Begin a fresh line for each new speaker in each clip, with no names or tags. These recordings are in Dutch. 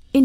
verscheen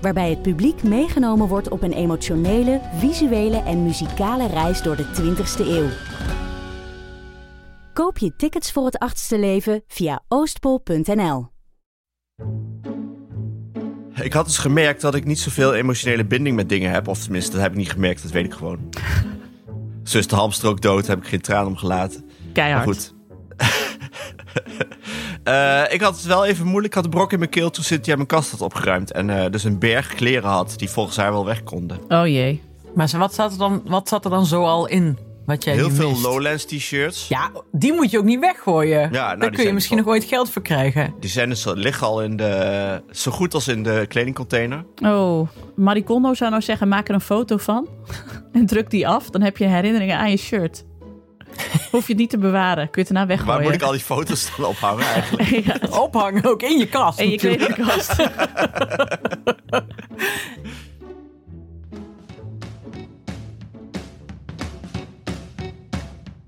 Waarbij het publiek meegenomen wordt op een emotionele, visuele en muzikale reis door de 20ste eeuw. Koop je tickets voor het achtste leven via oostpol.nl.
Ik had dus gemerkt dat ik niet zoveel emotionele binding met dingen heb. Of tenminste, dat heb ik niet gemerkt, dat weet ik gewoon. Zus de hamstrook dood, heb ik geen traan om gelaten.
Keihard.
Maar goed. Eh, ik had het wel even moeilijk. Ik had een brok in mijn keel toen Cynthia mijn kast had opgeruimd. En eh, dus een berg kleren had die volgens haar wel weg konden.
Oh jee.
Maar ze- wat zat er dan, wat zat er dan zoal in? Wat jij
Heel
nu
veel
mist?
Lowlands t-shirts.
Ja, die moet je ook niet weggooien.
nou, die
Daar kun je
zijn
misschien
dus
nog ooit geld voor krijgen.
Die zijn dus, liggen al in de, zo goed als in de kledingcontainer.
Oh, Maricondo zou nou zeggen, maak er een foto van en druk die af. Dan heb je herinneringen aan je shirt. Hoef je het niet te bewaren, kun je het daarna
Waar
Oh,
weggooien.
moet ik al die foto's dan ophangen eigenlijk?
Ophangen ook in je kast.
En je
natuurlijk.
kledingkast.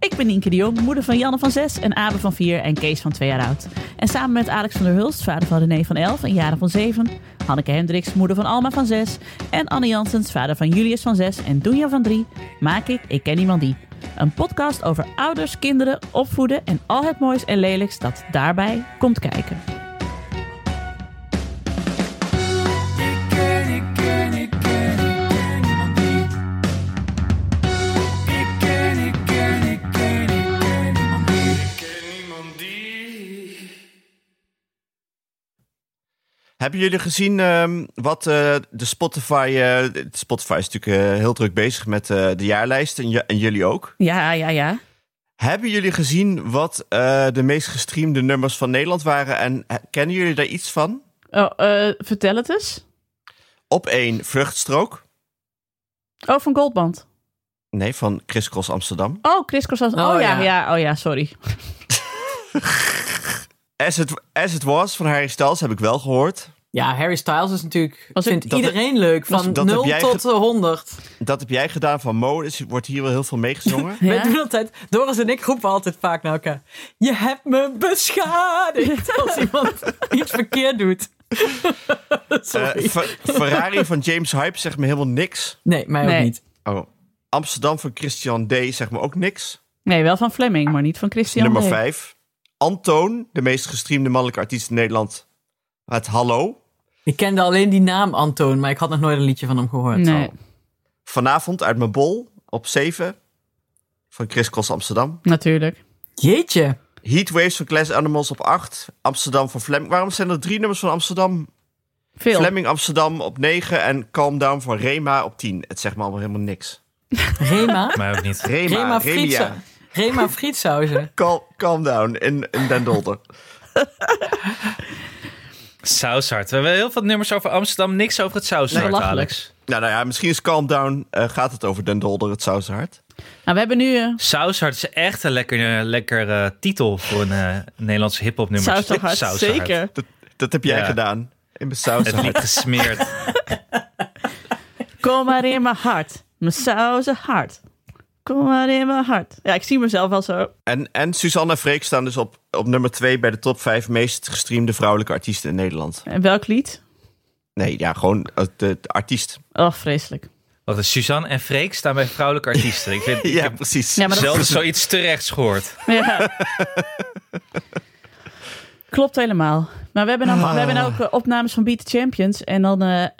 Ik ben Nienke de Jong, moeder van Janne van 6 en Abe van 4 en Kees van 2 jaar oud. En samen met Alex van der Hulst, vader van René van 11 en Jaren van 7, Hanneke Hendricks, moeder van Alma van 6 en Anne Jansens, vader van Julius van 6 en Doenja van 3, maak ik Ik Ken Iemand Die. Een podcast over ouders, kinderen, opvoeden en al het moois en lelijks dat daarbij komt kijken.
Hebben jullie gezien ehm, wat eh, de Spotify... eh, Spotify is natuurlijk eh, heel druk bezig met eh, de jaarlijst en, j- en jullie ook.
Ja, ja, ja.
Hebben jullie gezien wat eh, de meest gestreamde nummers van Nederland waren? En eh, kennen jullie daar iets van?
Oh, eh, vertel het eens.
Op één Vluchtstrook.
Oh, van Goldband.
Nee, van Chris Cross Amsterdam.
Oh, Chris Cross. Oh, ja,
Oh, ja.
ja, oh ja, sorry.
As It, As It Was van Harry Styles heb ik wel gehoord.
Ja, Harry Styles is natuurlijk.
Was
vindt
ik-
dat-
iedereen leuk. Van
dat heb
0
jij ge-
tot eh, 100.
Dat heb jij gedaan van Mo, dus wordt hier wel heel veel meegezongen.
Ja?
Wij doen altijd. Doris en ik roepen altijd vaak naar elkaar. Je hebt me beschadigd. Als iemand iets verkeerd doet. Sorry.
Eh, Fer- Ferrari van James Hype zegt me helemaal niks.
nee, mij ook
Nee.
niet.
Oh. Amsterdam van Christian D zegt me ook niks.
Nee, wel van Fleming, maar niet van Christian.
Nummer
D.
5. Antoon, de meest gestreamde mannelijke artiest in Nederland. Het Hallo.
Ik kende alleen die naam Antoon, maar ik had nog nooit een liedje van hem gehoord.
Nee.
Oh.
Vanavond uit mijn bol op 7. Van Chris Cross Amsterdam.
Natuurlijk.
Jeetje.
Heatwaves van Glass Animals op 8. Amsterdam van Flemming. Waarom zijn er drie nummers van Amsterdam?
Veel.
Flemming Amsterdam op 9 en Calm Down van Rema op 10. Het zegt me allemaal helemaal niks.
Rema.
Mij ook niet.
Rema,
Rema
Remia.
Frietsa- Rema Frietsauzen.
Cal- calm down in, in Den Dolder.
Saushart. We hebben heel veel nummers over Amsterdam, niks over het Saushart,
Nee, belachelijk.
Alex.
Nou, nou ja, misschien is Calm Down. eh, gaat het over Den Dolder, het Saushart?
Nou, we hebben nu eh
Saushart is echt een lekker, eh, lekker eh, titel voor een eh, Nederlands hip-hop nummer.
saus toch hard.
Saushart.
Zeker.
Dat, dat heb jij
Ja.
gedaan. In mijn
Het lied
Saushart.
gesmeerd.
Kom maar in mijn hart. Mijn sauzen hart. Kom maar in mijn hart. Ja, ik zie mezelf wel zo.
En, en Suzanne en Freek staan dus op, op nummer 2 bij de top 5 meest gestreamde vrouwelijke artiesten in Nederland.
En welk lied?
Nee, ja, gewoon eh, de, de artiest.
Oh, vreselijk.
Wat is Suzanne en Freek staan bij vrouwelijke artiesten. Ik vind
Ja, precies.
Ja, maar dat-
zelden zoiets terechts gehoord.
Ja. Klopt helemaal. Maar we hebben, dan, we hebben ook eh, opnames van Beat the Champions. En dan... eh, eh,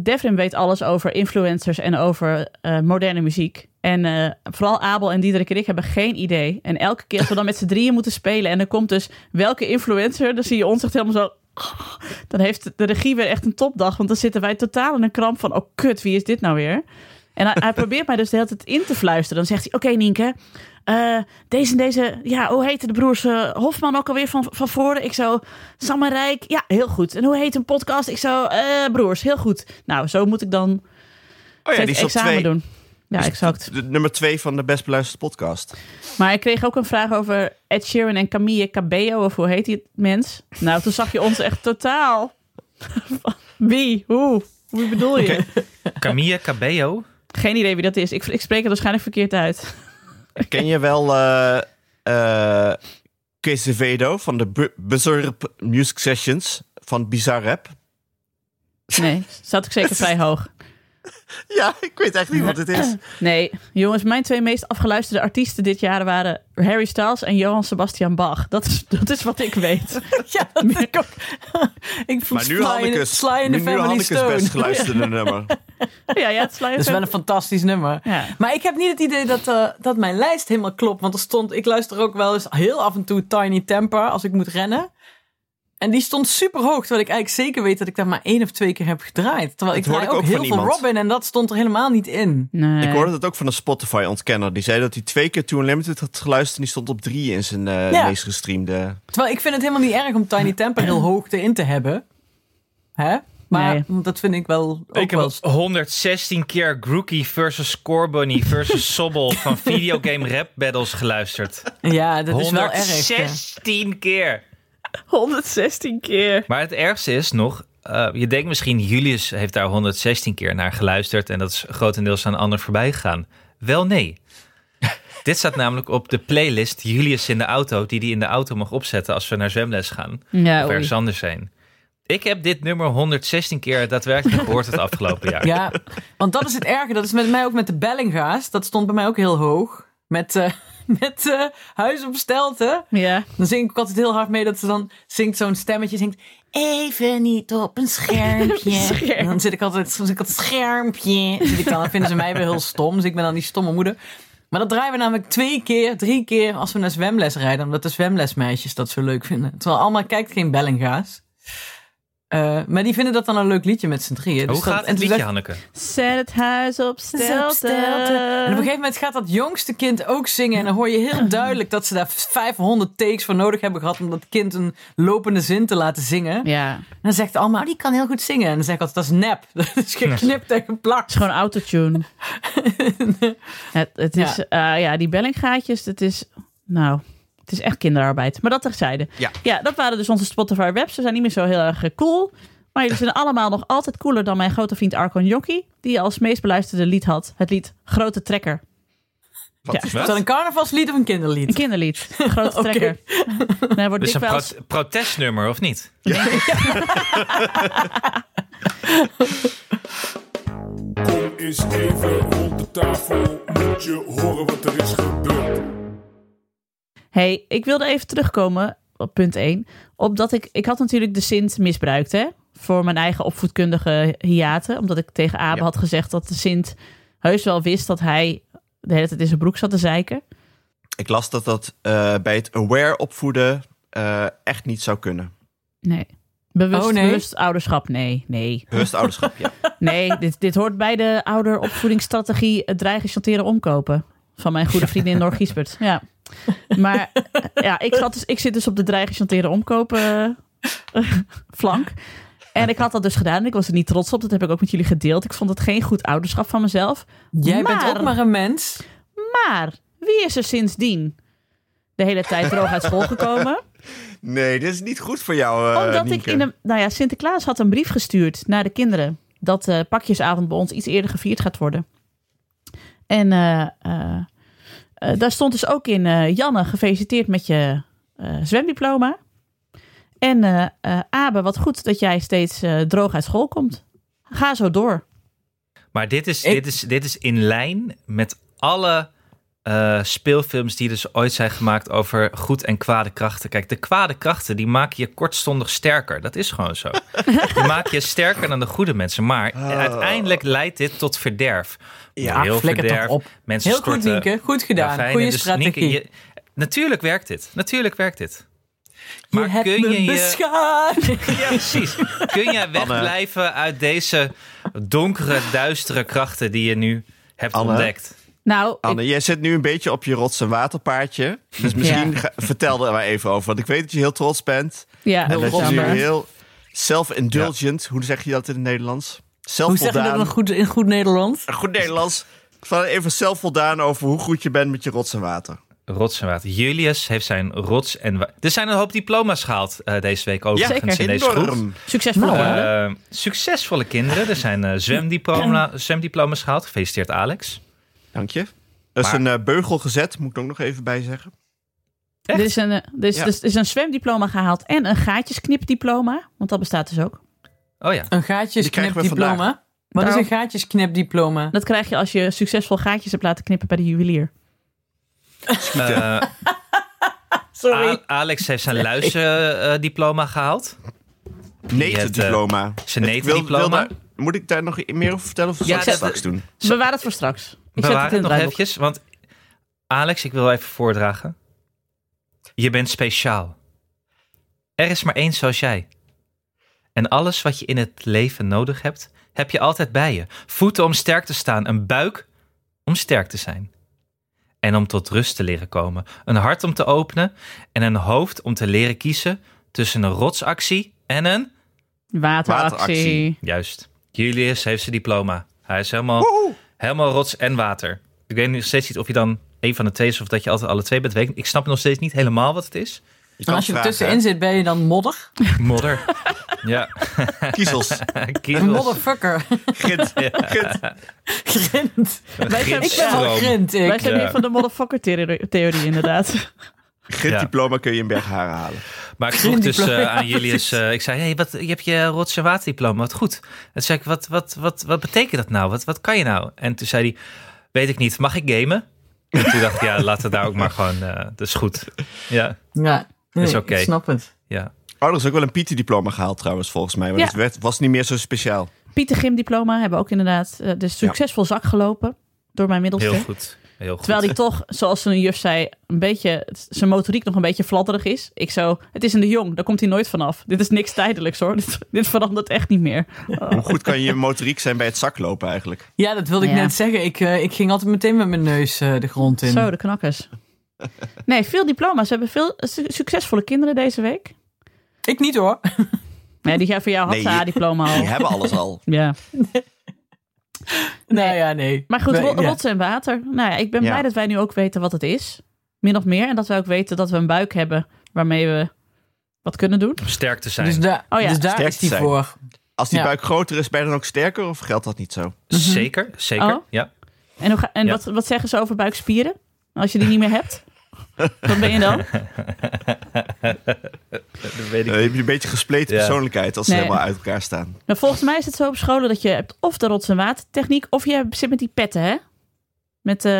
Devrim weet alles over influencers en over eh, moderne muziek. En eh, vooral Abel en Diederik en ik hebben geen idee. En elke keer als we dan met z'n drieën moeten spelen... en er komt dus welke influencer... dan zie je ons echt helemaal zo... Dan heeft de regie weer echt een topdag. Want dan zitten wij totaal in een kramp van... oh kut, wie is dit nou weer? En hij, hij probeert mij dus de hele tijd in te fluisteren. Dan zegt hij, oké Nienke... eh, deze en deze... Ja, hoe heten de broers eh, Hofman ook alweer van, van voren? Ik zo... Sam en Rijk, ja, heel goed. En hoe heet een podcast? Ik zo... eh, broers, heel goed. Nou, zo moet ik dan
Oh ja, die
steeds
is op twee.
examen doen. Ja,
Dus
exact.
de- nummer twee van de best beluisterde podcast.
Maar ik kreeg ook een vraag over Ed Sheeran en Camille Cabello, of hoe heet die mens? Nou, toen zag je ons echt totaal. Wie? Hoe? Hoe bedoel je?
Camille Cabello.
Geen idee wie dat is. Ik, ik spreek het waarschijnlijk verkeerd uit.
Ken je wel eh eh, Quezevedo van de Bu- Bizarre Music Sessions van Bizarre Rap?
Nee, zat ik zeker vrij hoog.
Ja, ik weet echt niet wat het is.
Nee, jongens, mijn twee meest afgeluisterde artiesten dit jaar waren Harry Styles en Johan Sebastian Bach. Dat is, dat is wat ik weet.
Ja, dat denk ik ook. ik voel
Maar nu
Sly in,
Hanneke's,
Sly in
nu,
the
nu
Family
Hanneke's
Stone.
best geluisterde nummer.
ja, ja, het sluit
Dat is wel een fantastisch nummer.
Ja.
Maar ik heb niet het idee dat, eh, dat mijn lijst helemaal klopt. Want er stond, ik luister ook wel eens heel af en toe Tiny Temper als ik moet rennen. En die stond super hoog, terwijl ik eigenlijk zeker weet dat ik daar maar één of twee keer heb gedraaid. Terwijl
Dat
ik
hoorde
draai
ik
ook,
ook
heel
van
veel
iemand.
Robin en dat stond er helemaal niet in.
Nee.
Ik hoorde dat ook van een Spotify-ontkenner. Die zei dat hij twee keer Too Unlimited had geluisterd... en die stond op drie in zijn eh,
Ja.
meest gestreamde...
Terwijl ik vind het helemaal niet erg om Tiny Temper heel hoog erin te hebben. Hè? Maar dat vind ik wel ook
Ik
wel
heb 116 keer Grookie versus Scorbunny versus Sobble van videogame rap battles geluisterd.
Ja, dat is wel erg. ja.
116 keer.
116 keer.
Maar het ergste is nog, eh, je denkt misschien Julius heeft daar 116 keer naar geluisterd en dat is grotendeels aan ander voorbij gegaan. Wel nee. Dit staat namelijk op de playlist Julius in de auto, die hij in de auto mag opzetten als we naar zwemles gaan
Ja,
of
oei.
ergens anders zijn. Ik heb dit nummer 116 keer daadwerkelijk gehoord het afgelopen jaar.
Ja, want dat is het erge. Dat is met mij ook met de Bellinga's. Dat stond bij mij ook heel hoog. Met, eh, met eh, Huis op Stelten.
Ja.
Dan zing ik ook altijd heel hard mee dat ze dan zingt zo'n stemmetje. Zingt even niet op een schermpje.
Scherm.
En dan zit ik altijd, dan zit ik altijd schermpje. Zit ik dan, dan vinden ze mij weer heel stom. Dus ik ben dan die stomme moeder. Maar dat draaien we namelijk twee keer, drie keer als we naar zwemles rijden. Omdat de zwemlesmeisjes dat zo leuk vinden. Terwijl allemaal kijkt geen Bellinga's. Eh, maar die vinden dat dan een leuk liedje met z'n drieën. Dus
Hoe
dat-
gaat
en
het
toen
liedje,
dacht-
Hanneke?
Zet het huis op
Stelte. En op een
stelte.
gegeven moment gaat dat jongste kind ook zingen. En dan hoor je heel duidelijk dat ze daar 500 takes voor nodig hebben gehad. om dat kind een lopende zin te laten zingen. En
Ja, het
dan zegt Alma, oh, die kan heel goed zingen. En dan zeg ik altijd, dat is nep. Dat is geknipt en geplakt.
is gewoon autotune. het, het is,
Ja.
ja. ja, die bellinggaatjes, het is, nou, het is echt kinderarbeid. Maar dat terzijde.
Ja.
ja, dat waren dus onze Spotify webs. Ze zijn niet meer zo heel erg eh, cool. Maar jullie zijn allemaal nog altijd cooler dan mijn grote vriend Arco Gnocchi. Die als meest beluisterde lied had het lied Grote Trekker.
Wat?
Ja.
Is dat een carnavalslied of een kinderlied?
Een kinderlied. Grote
Oké.
Trekker. Nee, hij wordt
Dus een
dikwijls...
pro- protestnummer, of niet?
Kom eens even rond de tafel, moet je horen wat er is gebeurd.
Hey, ik wilde even terugkomen op punt 1. Opdat ik, ik had natuurlijk de Sint misbruikt, hè? Voor mijn eigen opvoedkundige hiaten. Omdat ik tegen Abe
Ja.
had gezegd dat de Sint heus wel wist dat hij de hele tijd in zijn broek zat te zeiken.
Ik las dat dat eh, bij het aware opvoeden eh, echt niet zou kunnen.
Nee. Bewust,
Oh, nee?
bewust ouderschap, nee, nee.
Bewust ouderschap, ja.
Nee, dit, dit hoort bij de ouderopvoedingsstrategie het dreigen, chanteren, omkopen. Van mijn goede vriendin Noor Giesbert. Ja. Maar ja, ik, zat dus, ik zit dus op de dreigen, chanteren, omkopen eh, flank. En ik had dat dus gedaan en ik was er niet trots op. Dat heb ik ook met jullie gedeeld. Ik vond het geen goed ouderschap van mezelf.
Jij bent ook
Maar-
maar een mens.
Maar wie is er sindsdien de hele tijd droog uit school gekomen?
Nee, dit is niet goed voor jou, eh,
Omdat ik
Nienke.
in een. Nou ja, Sinterklaas had een brief gestuurd naar de kinderen. Dat eh, pakjesavond bij ons iets eerder gevierd gaat worden. En eh, eh, eh, daar stond dus ook in: eh, Janne, gefeliciteerd met je eh, zwemdiploma. En eh, eh, Abe, wat goed dat jij steeds eh, droog uit school komt. Ga zo door.
Maar dit is,
Ik-
dit is, dit is in lijn met alle eh, speelfilms die dus ooit zijn gemaakt over goed en kwade krachten. Kijk, de kwade krachten die maken je kortstondig sterker. Dat is gewoon zo. die maken je sterker dan de goede mensen. Maar
Ah.
uiteindelijk leidt dit tot verderf.
Ja,
heel
flikker toch
verderf.
op.
Mensen
Heel goed,
storten
Nienke. Goed gedaan.
ravijnen.
Goede
Dus Nienke,
strategie. je,
je- natuurlijk werkt dit. Natuurlijk werkt dit. Maar
hebt
kun
me
je je
beschadigd.
ja, precies. Kun jij wegblijven uit deze donkere, duistere krachten die je nu hebt
Anne?
ontdekt?
Nou, ik-
Anne, jij zit nu een beetje op je rots- en waterpaardje. Dus misschien ga- vertel er maar even over. Want ik weet dat je heel trots bent.
ja,
En dat je nu
jammer.
heel self-indulgent... Hoe zeg je dat in het Nederlands?
Hoe zeg je dat
zelfvoldaan.
in goed, in goed Nederland?
Een goed Nederlands. Van even zelfvoldaan over hoe goed je bent met je rots en water.
Rots en water. Julius heeft zijn rots en wa- Er zijn een hoop diploma's gehaald eh, deze week overigens
zeker.
in deze groep.
Enorm.
Succesvol. hè?
Eh, succesvolle kinderen. Er zijn eh, zwemdiploma, zwemdiploma's gehaald. Gefeliciteerd Alex.
Dank je. Er is
Maar-
een eh, beugel gezet, moet ik er ook nog even bij zeggen.
echt?
Er is een, eh, er is,
Ja.
er is- er is een zwemdiploma gehaald en een gaatjesknipdiploma. Want dat bestaat dus ook.
Oh ja.
Een
Die krijgen we
gaatjesknepdiploma? Wat is
Nou.
een gaatjesknepdiploma?
Dat krijg je als je succesvol gaatjes hebt laten knippen bij de juwelier.
Eh,
Sorry.
A- Alex heeft zijn luizendiploma gehaald. eh,
Netendiploma.
zijn
Ik wil-
netendiploma.
wil daar- Moet ik daar nog meer over vertellen of zal
Ja,
ik
dat-
het straks doen?
Bewaar het voor straks. Ik zet
Bewaar
het in het
nog
draaiboek.
eventjes, want Alex, ik wil even voordragen. Je bent speciaal. Er is maar één zoals jij. En alles wat je in het leven nodig hebt, heb je altijd bij je. Voeten om sterk te staan, een buik om sterk te zijn. En om tot rust te leren komen, een hart om te openen en een hoofd om te leren kiezen tussen een rotsactie en een...
Wateractie.
Wateractie.
Juist, Julius heeft zijn diploma. Hij is helemaal...
Woehoe.
Helemaal rots en water. Ik weet nog steeds niet of je dan een van de twee is of dat je altijd alle twee bent. Weet ik- Ik snap nog steeds niet helemaal wat het is.
Je
En
kan
als je er
vragen,
tussenin zit, ben je dan modder?
Modder. ja.
hè? Kiezels.
Kiezels.
Een modderfucker.
Gint. Gint.
Grind.
Een
Wij zijn- ik ben
gidsdroom.
wel
Grind, ik.
Wij zijn
Ja.
hier van de motherfucker-theorie inderdaad.
Gintdiploma kun je in Bergharen halen.
Maar ik vroeg dus eh,
Diploma's.
aan Julius, eh, ik zei, hey, wat, je hebt je rots- en waterdiploma, wat goed. En toen zei ik, wat, wat, wat, wat betekent dat nou? Wat, wat kan je nou? En toen zei hij, weet ik niet, mag ik gamen? En toen dacht ik, ja, laten we daar ook maar gewoon, eh, dat is goed. Ja,
Ja, nee,
Is oké.
ik snap het.
ja.
Oh, er is ook wel een Pieter-diploma gehaald trouwens, volgens mij. Maar
Ja.
dat werd, was niet meer zo speciaal.
Pieter Gim diploma hebben we ook inderdaad. eh, dus succesvol zak gelopen door mijn middelste.
heel goed. Heel goed.
Terwijl hij toch, zoals een juf zei, een beetje, zijn motoriek nog een beetje fladderig is. Ik zo, het is in de jong, daar komt hij nooit vanaf. Dit is niks tijdelijks hoor, dit, dit verandert echt niet meer.
Hoe goed kan je motoriek zijn bij het zaklopen eigenlijk?
Ja, dat wilde ik
Ja.
net zeggen. Ik, eh, ik ging altijd meteen met mijn neus eh, de grond in.
Zo, de knakkers. Nee, veel diploma's. We hebben veel su- succesvolle kinderen deze week.
Ik niet hoor.
Nee, die jij voor jou had
Nee,
de
je-
A-diploma al.
Die hebben alles al.
Ja.
Nou ja, nee.
Maar goed,
Nee,
ro-
ja.
rots en water. Nou ja, ik ben
Ja.
blij dat wij nu ook weten wat het is. Min of meer. En dat we ook weten dat we een buik hebben waarmee we wat kunnen doen.
Om sterk te zijn.
Dus, daar
Oh ja.
dus daar
Sterk
is die
zijn.
voor.
Als die
Ja.
buik groter is, ben je dan ook sterker? Of geldt dat niet zo?
Mhm.
Zeker, zeker.
Oh.
Ja.
En, hoe ga- en
Ja.
wat, wat zeggen ze over buikspieren? Als je die niet meer hebt? Wat ben je dan?
Dat weet ik
Eh, heb je een beetje gespleten
Ja.
persoonlijkheid als
Nee.
ze helemaal uit elkaar staan.
Nou, volgens mij is het zo op scholen dat je hebt of de rots- en watertechniek... of je zit met die petten, hè? Met eh,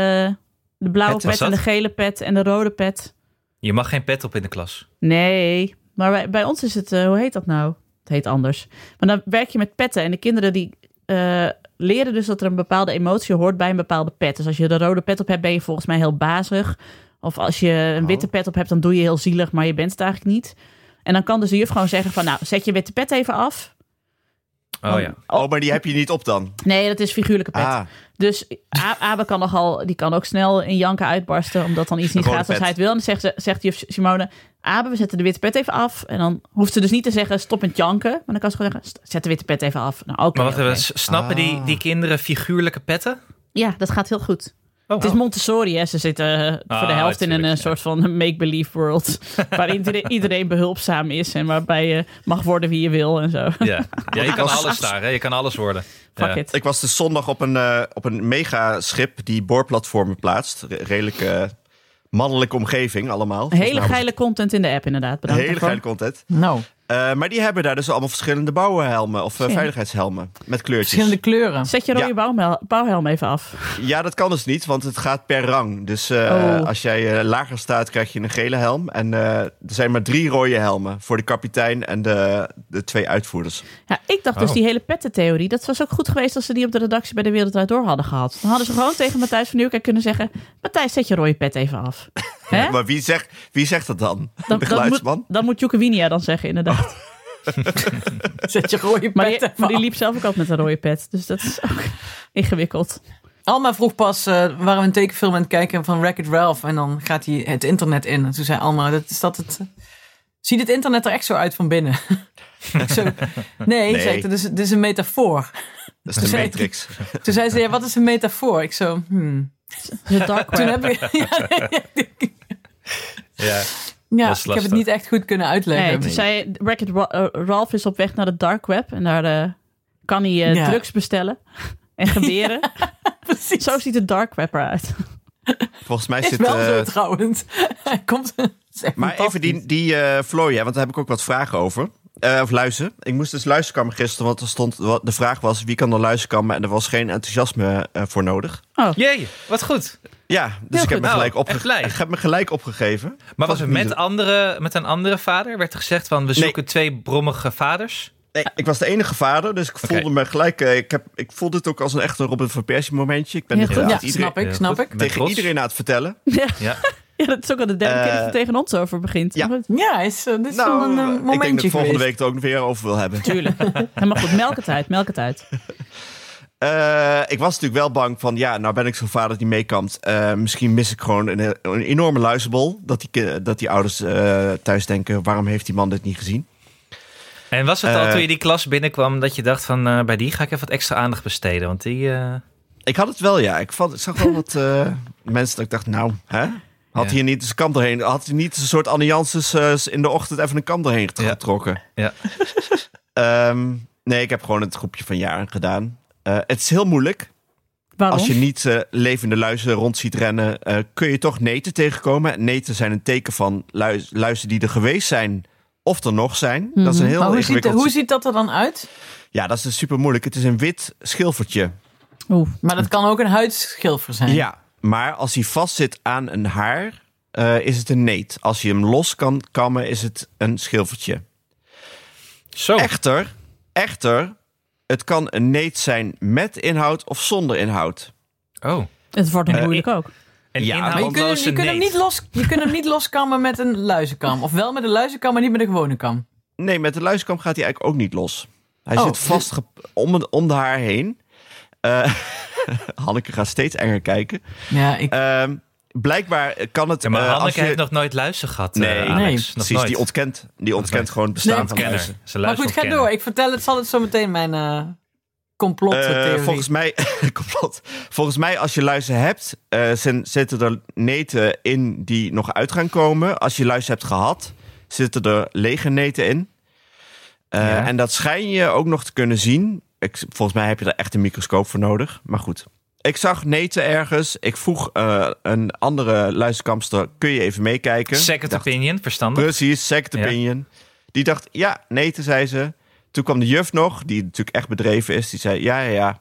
de blauwe
Pet, was
pet en de
dat?
gele pet en de rode pet.
Je mag geen pet op in de klas.
Nee, maar bij, bij ons is het, eh, hoe heet dat nou? Het heet anders. Maar dan werk je met petten en de kinderen die eh, leren dus dat er een bepaalde emotie hoort bij een bepaalde pet. Dus als je de rode pet op hebt, ben je volgens mij heel bazig. Of als je een witte pet op hebt, dan doe je heel zielig, maar je bent het eigenlijk niet. En dan kan dus de juf gewoon zeggen van, nou, zet je witte pet even af.
Oh ja.
Oh.
Oh, maar die heb je niet op dan.
Nee, dat is figuurlijke pet.
Ah,
Dus A- Abe kan nogal, die kan ook snel in janken uitbarsten, omdat dan iets niet
Rode
gaat zoals
pet.
hij het wil. En dan zegt, ze- zegt juf Simone, Abe, we zetten de witte pet even af. En dan hoeft ze dus niet te zeggen, stop met janken. Maar dan kan ze gewoon zeggen, "St- zet de witte pet even af. Nou, oké.
Maar wacht
oké.
even, s- snappen die,
Ah.
die kinderen figuurlijke petten?
Ja, dat gaat heel goed.
Oh,
Het is Montessori, hè. Ze zitten eh, voor de
Ah,
helft in een eh,
tuurlijk, ja.
soort van make-believe world. Waar iedereen, iedereen behulpzaam is en waarbij je mag worden wie je wil en zo.
ja. ja, je kan alles daar, hè? je kan alles worden.
Fuck
Ja.
it.
ik was dus zondag op een, eh, op een megaschip die boorplatformen plaatst. Re- redelijk eh, mannelijke omgeving allemaal.
Hele
Volgens mij was
geile content in de app inderdaad.
het
Bedankt
nou Hele
daarvoor.
geile content.
Nou,
Eh, maar die hebben daar dus allemaal verschillende bouwhelmen of eh,
Ja.
veiligheidshelmen met kleurtjes.
verschillende kleuren.
Zet je rode
Ja.
bouwmel- bouwhelm even af.
Ja, dat kan dus niet, want het gaat per rang. Dus eh,
Oh.
als jij eh, lager staat, krijg je een gele helm. En eh, er zijn maar drie rode helmen voor de kapitein en de, de twee uitvoerders.
Ja, ik dacht dus
Oh.
die hele pettentheorie. Dat was ook goed geweest als ze die op de redactie bij de Wereld Draait Door hadden gehad. Dan hadden ze gewoon tegen Matthijs van Nieuwkerk kunnen zeggen... Matthijs, zet je rode pet even af. Hè?
Maar wie zegt, wie zegt dat dan?
Dan,
de
dan moet,
geluidsman?
dan moet Joeke Winia dan zeggen, inderdaad.
Zet je rode
maar, die,
pet
maar
maar
die liep zelf ook altijd met een rode pet. Dus dat is ook ingewikkeld.
Alma vroeg pas, eh, we waren we een tekenfilm aan het kijken van Wreck-It Ralph. En dan gaat hij het internet in. En toen zei Alma, dat, is dat het... eh, Ziet het internet er echt zo uit van binnen? Ik zo, nee,
Nee.
Zei ik, dit, is, dit is een metafoor.
Dat is de
Zij-
Matrix.
Toen zei ze, ja, wat is een metafoor? Ik zo, hmm.
De dark
Toen
web.
heb ik...
Ja.
Ja,
Was
ik heb het niet
lastig.
echt goed kunnen uitleggen.
Nee, toen zei Wreck-It Ra- eh, Ralph is op weg naar de dark web. En daar eh, kan hij eh,
Ja.
drugs bestellen. En geweren.
precies.
Zo ziet de dark web eruit.
Volgens mij
Is
zit...
wel zo
eh,
trouwens. Hij komt... het is echt
Maar even die, die eh Floor, ja, want daar heb ik ook wat vragen over. Eh, of luizen. Ik moest dus luizenkammen gisteren, want er stond, wat- de vraag was wie kan er luizenkammen en er was geen enthousiasme eh, voor nodig.
Jee, wat goed.
Ja, dus
Heel
ik heb,
goed.
me gelijk
Nou,
opge-
echt blij.
ik heb me gelijk opgegeven.
Maar
Was
was het
niet
met,
zo-
andere, met een andere vader? Werd er gezegd van, we
Nee.
zoeken twee brommige vaders?
Nee, ik was de enige vader, dus ik voelde me gelijk. eh, ik, heb, ik voelde het ook als een echte Robin van Persie momentje. Ik ben
Heel
dit
goed.
Ja,
inderdaad iedereen-
snap ik,
Ja,
snap
goed.
ik.
Met
tegen
Ros.
iedereen aan het vertellen.
Ja.
Ja, dat is ook al de derde
Eh,
keer dat het tegen ons over begint.
ja.
Maar-
Ja, is, eh, dit is wel een eh,
Nou,
momentje
ik denk dat ik volgende
geweest.
week het ook weer over wil hebben.
Tuurlijk. Ja, maar goed, melk het uit, melk het uit.
Eh, ik was natuurlijk wel bang van, ja, nou ben ik zo'n vader die meekampt. Eh, misschien mis ik gewoon een, een enorme luizenbol. Dat die, ki- dat die ouders eh, thuis denken, waarom heeft die man dit niet gezien?
En was het al
Eh.
toen je die klas binnenkwam dat je dacht van, eh, bij die ga ik even wat extra aandacht besteden? Want die... eh,
Ik had het wel, ja. Ik, vond, ik zag wel wat eh, mensen dat ik dacht, nou, hè? Had
Ja.
hij niet eens een kam doorheen? Had hij niet een soort alliances eh, in de ochtend even een kam doorheen get-
Ja.
getrokken?
Ja.
Ehm, nee, ik heb gewoon het groepje van jaren gedaan. Eh, het is heel moeilijk.
Waarom?
Als je niet eh, levende luizen rond ziet rennen, eh, kun je toch neten tegenkomen. Neten zijn een teken van luis- luizen die er geweest zijn of er nog zijn. Dat is een heel
Mhm. Maar hoe ziet,
ingewikkeld...
hoe ziet dat er dan uit?
Ja, dat is dus super moeilijk. Het is een wit schilfertje.
Oeh,
Maar dat kan ook een huidschilfer zijn.
Ja, maar als hij vastzit aan een haar, eh, is het een neet. Als je hem los kan kammen, is het een schilfertje.
Zo.
Echter, echter, het kan een neet zijn met inhoud of zonder inhoud.
Oh.
het wordt nog
Eh,
moeilijk ook.
Een
Ja,
ja,
maar
Maar je kunt,
nou
hem- je, kunt hem niet los, je kunt hem niet loskammen met een luizenkam. Of wel met een luizenkam, maar niet met een gewone kam.
Nee, met de luiskam gaat hij eigenlijk ook niet los. Hij
Oh.
zit vast ge- om, het- om de haar heen. Eh, Hanneke gaat steeds enger kijken.
Ja, ik,
Ehm, blijkbaar kan het...
Ja, maar
eh, als
Hanneke
je-
heeft nog nooit luister gehad, eh,
Nee,
Alex.
nee,
Nog
Precies,
nooit.
die ontkent, die ontkent
nooit.
gewoon het bestaan van
Ontkenner.
luizen.
Ze
maar
luistert
goed, ga
ontkennen.
door. Ik vertel het, zal het zo meteen mijn eh complottheorie.
Eh, volgens mij, complot. Volgens mij, als je luizen hebt, eh, zijn- zitten er neten in die nog uit gaan komen. Als je luizen hebt gehad, zitten er lege neten in. Eh,
Ja.
En dat schijn je ook nog te kunnen zien. Ik, volgens mij heb je daar echt een microscoop voor nodig. Maar goed. Ik zag neten ergens. Ik vroeg eh, een andere luizenkampster, kun je even meekijken?
Second
Dacht,
opinion, verstandig.
Precies, second
Hm? Ja.
opinion. Die dacht, ja, nee, toen zei ze. Toen kwam de juf nog, die natuurlijk echt bedreven is. Die zei, ja, ja, ja.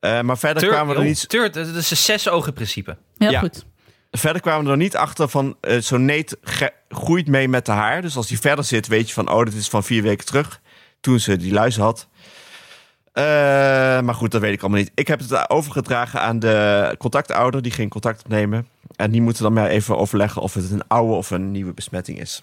Eh, maar verder
Tur-
kwamen, we er
joh,
niet,
tur- dat is een zes ogen principe.
Heel
ja.
goed.
verder kwamen we er niet achter van... eh, Zo'n neet ge- groeit mee met de haar. Dus als die verder zit, weet je van... Oh, dit is van vier weken terug. Toen ze die luis had. Eh, maar goed, dat weet ik allemaal niet. Ik heb het overgedragen aan de contactouder. Die ging contact opnemen. En die moeten dan maar even overleggen... of het een oude of een nieuwe besmetting is.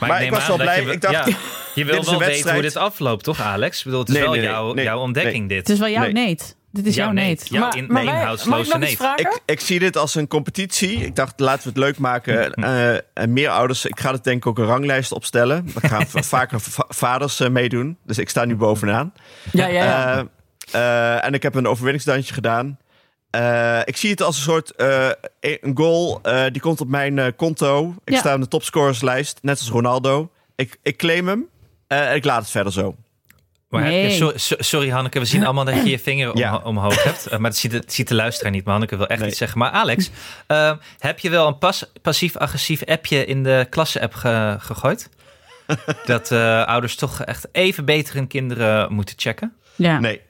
Maar ik
neem
was
aan
wel
dat
blij.
je wel-
Ik dacht,
ja, je wil
is
wel
een
weten
wedstrijd.
hoe dit afloopt, toch, Alex? Ik bedoel, het is
Nee,
wel
nee, nee,
jouw,
nee,
jouw ontdekking, dit.
Het is wel jouw
Nee.
neet. Dit is
Jouw
jouw
neet.
neet.
Ja.
maar,
in-
maar
nee,
wij-
inhoudsloze
mag ik nog iets
neef.
vragen?
Ik, ik zie dit als een competitie. Ik dacht, laten we het leuk maken. Eh, en meer ouders, ik ga het denk ik ook een ranglijst opstellen. Er gaan v- vaker va- vaders eh, meedoen. Dus ik sta nu bovenaan.
ja, ja, ja.
Eh, eh, en ik heb een overwinningsdansje gedaan. Eh, ik zie het als een soort eh, een goal. eh, die komt op mijn eh, conto. Ik
Ja.
sta op de topscorerslijst, net als Ronaldo. Ik, ik claim hem eh, en ik laat het verder zo.
Maar heb je-
Nee.
so- so- sorry, Hanneke, we zien allemaal dat je je vinger omho-
Ja.
omhoog hebt. Eh, Maar dat ziet, de- dat ziet de luisteraar niet. Maar Hanneke wil echt
Nee.
iets zeggen. Maar Alex, eh, heb je wel een pas, passief-agressief appje in de klasse-app ge- gegooid? Dat eh, ouders toch echt even beter hun kinderen moeten checken?
Ja.
Nee.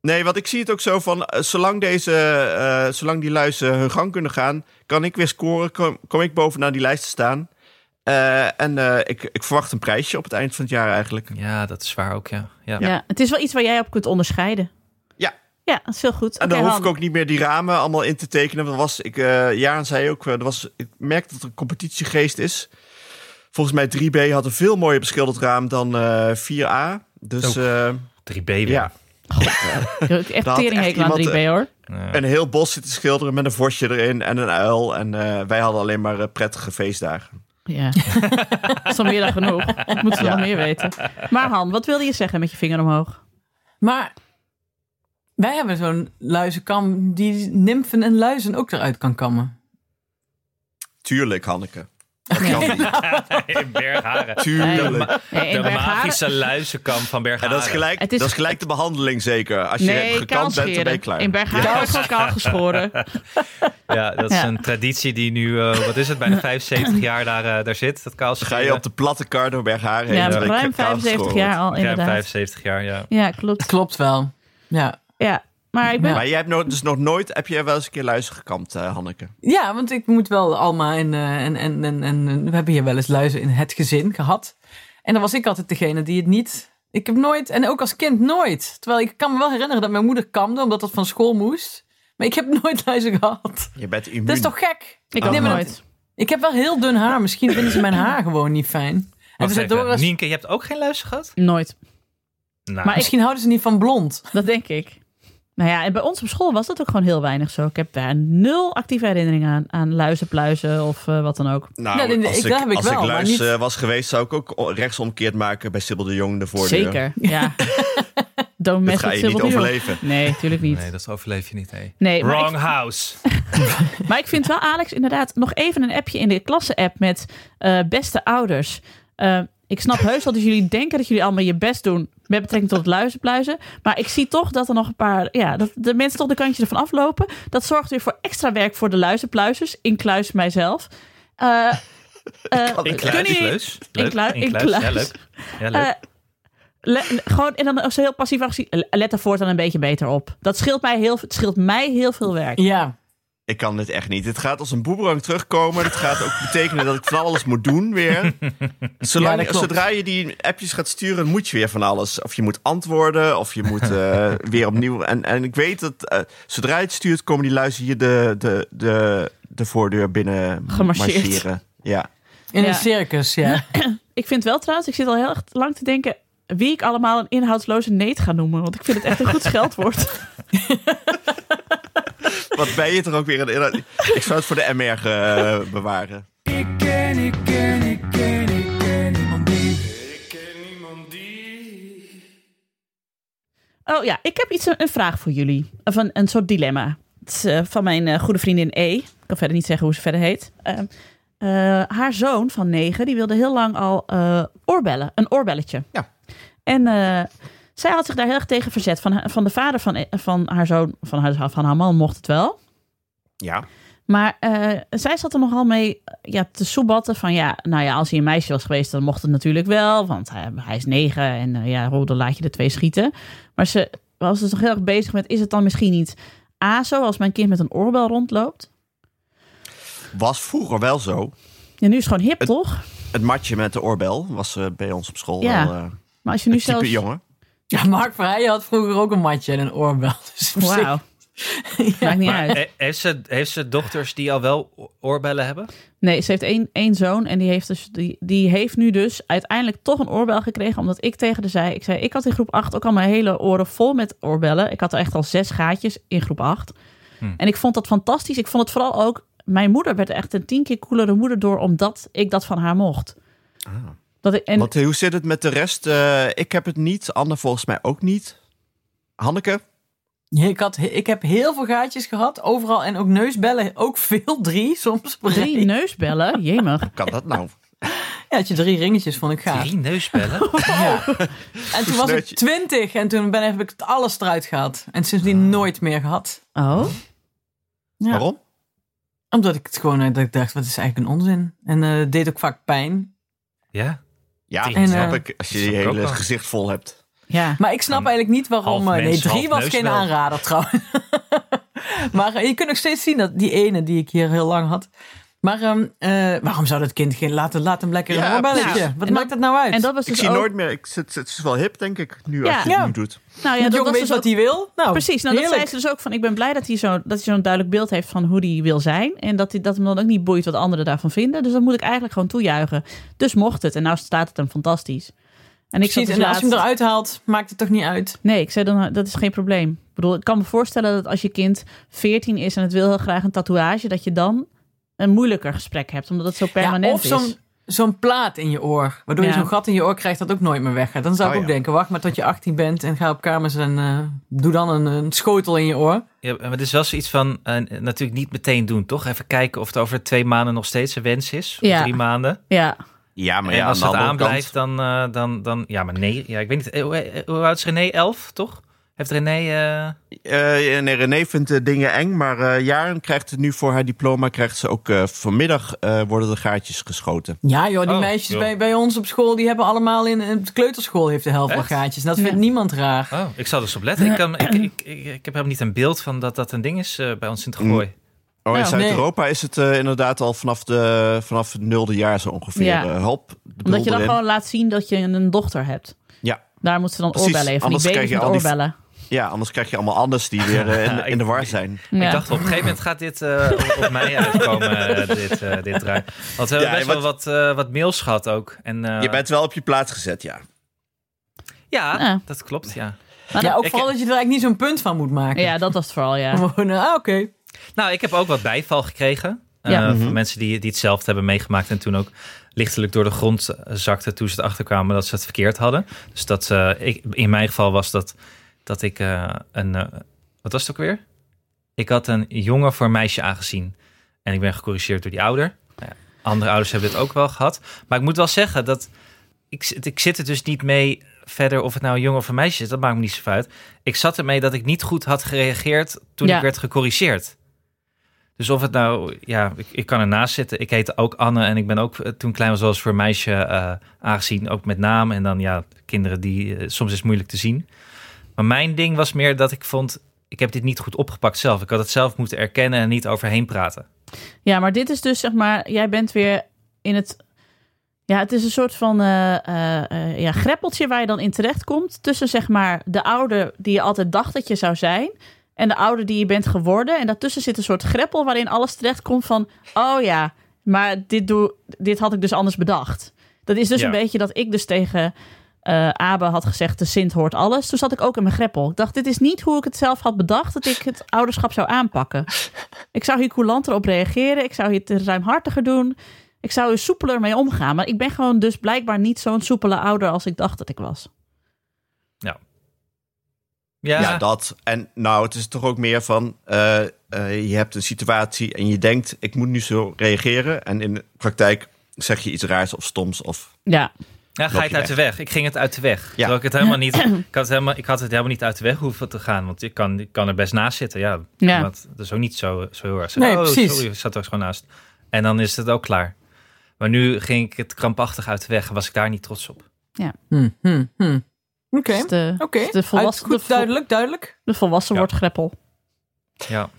Nee, want ik zie het ook zo van, eh, zolang, deze, eh, zolang die luizen hun gang kunnen gaan, kan ik weer scoren, kom, kom ik bovenaan die lijst te staan. Eh, en eh, ik, ik verwacht een prijsje op het eind van het jaar eigenlijk.
Ja, dat is waar ook, ja. ja.
Ja. Het is wel iets waar jij op kunt onderscheiden.
Ja.
Ja, dat is heel goed.
En
Oké,
dan hoef
Han.
ik ook niet meer die ramen allemaal in te tekenen. Want dat was, ik, eh Jaren zei ook, eh, er was, ik merk dat er een competitiegeest is. Volgens mij 3B had een veel mooier beschilderd raam dan eh, 4A. Dus
Ook.
eh,
3B weer.
ja,
Ik heb echt
had
teringhekel
echt
aan 3B
iemand, eh,
hoor.
Ja.
een heel bos zitten schilderen met een vosje erin en een uil. En eh, wij hadden alleen maar eh, prettige feestdagen.
Ja. dat is al meer dan genoeg. Dat moeten ze wel meer weten. Maar Han, wat wilde je zeggen met je vinger omhoog?
Maar Wij hebben zo'n luizenkam die nimfen en luizen ook eruit kan kammen.
Tuurlijk, Hanneke. Dat
Nee.
kan niet.
in Bergharen.
Tuurlijk.
Nee,
De
in Bergharen-
magische luizenkamp van
En
Bergharen.
dat is, gelijk,
Het is-
dat is gelijk de behandeling zeker. Als je
Nee,
gekant bent, dan ben je
kaalscheren.
klaar.
In Bergharen wordt gewoon kaal geschoren.
Ja, dat is
Ja.
een traditie die nu, eh, wat is het, bijna 75 jaar daar, eh, daar zit. Dat kaalscheren.
Ga je op de platte kar door Bergharen heen.
Ja,
dan ben je
ruim
kaal
75
geschoren.
jaar al,
Ruim
inderdaad.
75 jaar, ja.
Ja, klopt.
Klopt wel. Ja.
Ja, maar ik ben...
Maar jij hebt no- dus nog nooit, heb je wel eens een keer luizen gekampt, eh, Hanneke?
Ja, want ik moet wel Alma en, eh, en, en, en, en en we hebben hier wel eens luizen in het gezin gehad. En dan was ik altijd degene die het niet. Ik heb nooit, en ook als kind nooit. Terwijl ik kan me wel herinneren dat mijn moeder kamde, omdat dat van school moest. Maar ik heb nooit luizen gehad.
Je bent immuun.
Dat is toch gek?
Ik ook
Nee, maar dat-
nooit.
Ik heb wel heel dun haar. Misschien vinden ze mijn haar gewoon niet fijn. En
Wacht
ze
even,
Doris,
Nienke, je hebt ook geen luizen gehad?
Nooit.
Nou,
Maar ik-
misschien houden ze niet van blond.
Dat denk ik. Nou ja, en bij ons op school was dat ook gewoon heel weinig zo. Ik heb daar nul actieve herinneringen aan. Aan luizen, pluizen of eh, wat dan ook.
Nou,
Nee, nee, nee,
als
ik-
ik,
dat heb ik
als
wel,
ik
maar
luis
niet-
eh, was geweest, zou ik ook o- rechtsomkeerd maken bij Sibyl de Jong de voordeur.
Zeker, ja. Don't
Dat
mess
ga
with
je niet
Civil War.
overleven.
Nee, natuurlijk niet.
Nee, dat overleef je niet, hé.
Nee, maar
Wrong house.
Maar ik vind wel, Alex, inderdaad, nog even een appje in de klasse-app met eh, beste ouders. Eh, ik snap heus wel dat jullie denken dat jullie allemaal je best doen met betrekking tot het luizenpluizen. Maar ik zie toch dat er nog een paar, ja, dat de mensen toch de kantje ervan aflopen. Dat zorgt weer voor extra werk voor de luizenpluizers, incluis mijzelf. Eh eh, kunnen
In kluis.
jullie-
Leus.
In
Leuk.
kluis- in kluis.
Ja, leuk. Ja, leuk.
Eh, le- gewoon, en dan ook zo heel passief actie. Let er voortaan een beetje beter op. Dat scheelt mij heel, het scheelt mij heel veel werk.
Ja.
Ik kan dit echt niet. Het gaat als een boemerang terugkomen. Het gaat ook betekenen dat ik van alles moet doen weer.
Ja,
Zolang,
dat klopt.
zodra je die appjes gaat sturen, moet je weer van alles. Of je moet antwoorden, of je moet eh, weer opnieuw. En, en ik weet dat eh, zodra je het stuurt, komen die luizen hier de, de, de, de voordeur binnen
Gemarcheerd.
marcheren. Ja.
In
Ja.
een circus, ja.
Ik vind wel trouwens, ik zit al heel erg lang te denken wie ik allemaal een inhoudsloze neet ga noemen. Want ik vind het echt een goed scheldwoord.
Wat ben je er ook weer in? Ik zou het voor de MR eh, bewaren.
Ik ken, ik ken, ik ken, ik ken niemand die. Ik ken niemand die.
Oh ja, ik heb iets, een vraag voor jullie. Of een, een soort dilemma. Het is eh, van mijn eh, goede vriendin E. Ik kan verder niet zeggen hoe ze verder heet. Ehm, eh, haar zoon van negen, die wilde heel lang al eh, oorbellen. Een oorbelletje.
Ja.
En eh, zij had zich daar heel erg tegen verzet. Van, ha- van de vader van, eh, van haar zoon, van haar, van haar man mocht het wel.
Ja.
Maar eh, zij zat er nogal mee eh, ja, te soebatten van ja, nou ja, als hij een meisje was geweest, dan mocht het natuurlijk wel, want hij, hij is negen en eh, ja, hoe, dan laat je de twee schieten. Maar ze was dus nog heel erg bezig met, is het dan misschien niet A zo als mijn kind met een oorbel rondloopt?
Was vroeger wel zo.
Ja, nu is het gewoon hip, toch?
Het matje met de oorbel was eh, bij ons op school
Ja.
wel eh,
Maar als je nu
type
zelfs...
jongen.
Ja, Mark Vrijen had vroeger ook een matje en een oorbel. Dus op zich-
Wauw. Maakt niet uit.
He- heeft, ze, heeft ze dochters die al wel o- oorbellen hebben?
Nee, ze heeft één, één zoon en die heeft, dus, die, die heeft nu dus uiteindelijk toch een oorbel gekregen. Omdat ik tegen haar zei, ik zei, ik had in groep 8 ook al mijn hele oren vol met oorbellen. Ik had er echt al zes gaatjes in groep 8. En ik vond dat fantastisch. Ik vond het vooral ook, mijn moeder werd echt een tien keer coolere moeder door, omdat ik dat van haar mocht. Dat ik, en
Want eh, hoe zit het met de rest? Eh, ik heb het niet. Anne volgens mij ook niet. Hanneke?
Ja, Ik, had, ik heb heel veel gaatjes gehad, overal. En ook neusbellen, ook veel, drie soms. op een
drie
rij.
neusbellen, jemig.
Hoe kan dat nou?
Ja, had je drie ringetjes, vond ik gaaf.
Drie neusbellen?
Ja. En toen was ik
Snuitje.
twintig en toen ben, heb ik het alles eruit gehad. En sindsdien nooit meer gehad.
Oh,
Ja.
Waarom?
Omdat ik het gewoon eh, dat ik dacht, wat is eigenlijk een onzin. En eh, het deed ook vaak pijn.
ja.
Ja,
En,
dat
eh,
snap ik. Als je
dat
je
snap ik ook
hele
wel.
gezicht vol hebt.
ja.
Maar ik snap eigenlijk niet waarom...
half
eh,
mens,
nee, drie
half
was
neus
geen
wel.
aanrader trouwens. maar eh, je kunt nog steeds zien dat die ene die ik hier heel lang had... Maar ehm, eh, waarom zou dat kind geen... Laat, laat hem lekker
Ja,
een oorbelletje.
precies.
Wat
En
maakt
dat-
dat nou uit?
en dat was
Ik
dus
zie
ook...
nooit meer. Ik, het, het is wel hip, denk ik, nu
Ja.
als je het
Ja.
nu doet.
nou ja,
ja, de
dat was
jongen weet
dus
wat
ook-
hij wil. Nou,
Precies, nou, dat zei
heerlijk.
ze dus ook van. Ik ben blij dat hij zo'n dat hij zo'n duidelijk beeld heeft van hoe hij wil zijn. En dat, hij, dat hem dan ook niet boeit wat anderen daarvan vinden. Dus dat moet ik eigenlijk gewoon toejuichen. Dus mocht het. En nou staat het hem fantastisch. En ik zat
Precies,
dus
en als je hem
laatst-
eruit haalt, maakt het toch niet uit.
Nee, ik zei dan, dat is geen probleem. Ik bedoel, ik kan me voorstellen dat als je kind 14 is en het wil heel graag een tatoeage, dat je dan een moeilijker gesprek hebt, omdat het zo permanent
of zo'n
is.
zo'n plaat in je oor. Waardoor je
Ja.
zo'n gat in je oor krijgt dat ook nooit meer weggaat. Dan zou ik
Oh,
ook
ja.
denken, wacht maar tot je 18 bent en ga op kamers en eh, doe dan een, een schotel in je oor.
Ja, maar het is wel zoiets van, eh, natuurlijk niet meteen doen, toch? Even kijken of het over twee maanden nog steeds een wens is. Of
Ja.
drie maanden.
Ja,
Ja, maar
en
ja,
als
aan
het
de andere kant.
aanblijft, dan, eh, dan, dan... Ja, maar nee. Ja, ik weet niet. eh, Hoe, eh, hoe oud is René? Elf, toch? Heeft René... eh,
Eh, nee, René vindt eh, dingen eng, maar eh, Jaren krijgt het nu voor haar diploma. Krijgt ze ook eh, vanmiddag eh, worden de gaatjes geschoten.
Ja joh, die
Oh,
meisjes
joh.
Bij, bij ons op school, die hebben allemaal in, in de kleuterschool heeft de helft wel
Echt?
gaatjes. En dat
Ja.
vindt niemand raar.
Oh, ik zal dus op letten. Ik, kan, ik, ik, ik, ik heb helemaal niet een beeld van dat dat een ding is eh, bij ons in het gooi.
Oh, in
Nou,
Zuid-Europa is het eh, inderdaad al vanaf, de, vanaf het nulde jaar zo ongeveer.
Ja.
eh, hop, de
omdat
boel
je dan
erin.
gewoon laat zien dat je een dochter hebt.
Ja.
Daar moeten ze dan
Precies,
oorbellen even. Die
anders
baby's
krijg je
met
al die-
oorbellen.
Ja, anders krijg je allemaal anders die weer eh, in, in de war zijn.
Ja.
Ik dacht, op een gegeven moment gaat dit eh, op, op mij uitkomen, eh, dit, eh dit draai. Want we hebben
Ja,
best wel wat, eh, wat mails gehad ook. En, eh,
Je bent wel op je plaats gezet, ja.
Ja,
Ja.
dat klopt, ja.
Maar
Ja,
dat-
ook
ik-
vooral dat je er eigenlijk niet zo'n punt van moet maken.
ja, dat was het vooral, ja.
Gewoon, eh, ah oké.
Nou, ik heb ook wat bijval gekregen. eh,
Ja.
Van mensen die, die hetzelfde hebben meegemaakt en toen ook lichtelijk door de grond eh, zakten toen ze erachter kwamen dat ze het verkeerd hadden. Dus dat, eh, ik, in mijn geval was dat dat ik eh, een, eh, wat was het ook weer? Ik had een jongen voor een meisje aangezien en ik ben gecorrigeerd door die ouder. Nou ja, andere ouders hebben dit ook wel gehad. Maar ik moet wel zeggen dat ik, zit- ik zit er dus niet mee verder of het nou een jongen of een meisje is. Dat maakt me niet zoveel uit. Ik zat ermee dat ik niet goed had gereageerd toen
Ja.
ik werd gecorrigeerd. Dus of het nou, ja, ik, ik kan ernaast zitten. Ik heette ook Anne en ik ben ook eh, toen ik klein was, wel eens voor een meisje eh, aangezien, ook met naam. En dan ja, kinderen die eh, soms is het moeilijk te zien. Maar mijn ding was meer dat ik vond, ik heb dit niet goed opgepakt zelf. Ik had het zelf moeten erkennen en niet overheen praten.
Ja, maar dit is dus zeg maar, jij bent weer in het. Ja, het is een soort van eh, eh, eh, ja, greppeltje waar je dan in terechtkomt. Tussen zeg maar de ouder die je altijd dacht dat je zou zijn. En de ouder die je bent geworden. En daartussen zit een soort greppel waarin alles terechtkomt van. Oh ja, maar dit, doe, dit had ik dus anders bedacht. Dat is dus
Ja.
een beetje dat ik dus tegen eh Abe had gezegd: de Sint hoort alles. Toen zat ik ook in mijn greppel. Ik dacht: dit is niet hoe ik het zelf had bedacht dat ik het ouderschap zou aanpakken. Ik zou hier coulanter op reageren. Ik zou hier te ruimhartiger doen. Ik zou er soepeler mee omgaan. Maar ik ben gewoon dus blijkbaar niet zo'n soepele ouder als ik dacht dat ik was.
Ja,
Ja, dat. En nou, het is toch ook meer van... eh, eh, je hebt een situatie en je denkt, ik moet nu zo reageren. En in de praktijk zeg je iets raars of stoms. Of,
Ja,
Ja,
Loop
ga je het
je
uit de weg. Ik ging het uit de weg. Terwijl ik het helemaal niet. Ik had het helemaal, ik had het helemaal niet uit de weg hoeven te gaan. Want ik kan, ik kan er best naast zitten. Ja,
Ja.
Want dat is ook niet zo, zo heel erg.
Nee,
oh,
precies.
Sorry, ik zat er gewoon naast. En dan is het ook klaar. Maar nu ging ik het krampachtig uit de weg. en Was ik daar niet trots op.
Hm, hm, hm. Oké,
dus de,
oké.
de volwassen-
Uit-
de
Goed,
vol-
duidelijk, duidelijk.
de volwassen
Ja.
wordt greppel.
Ja.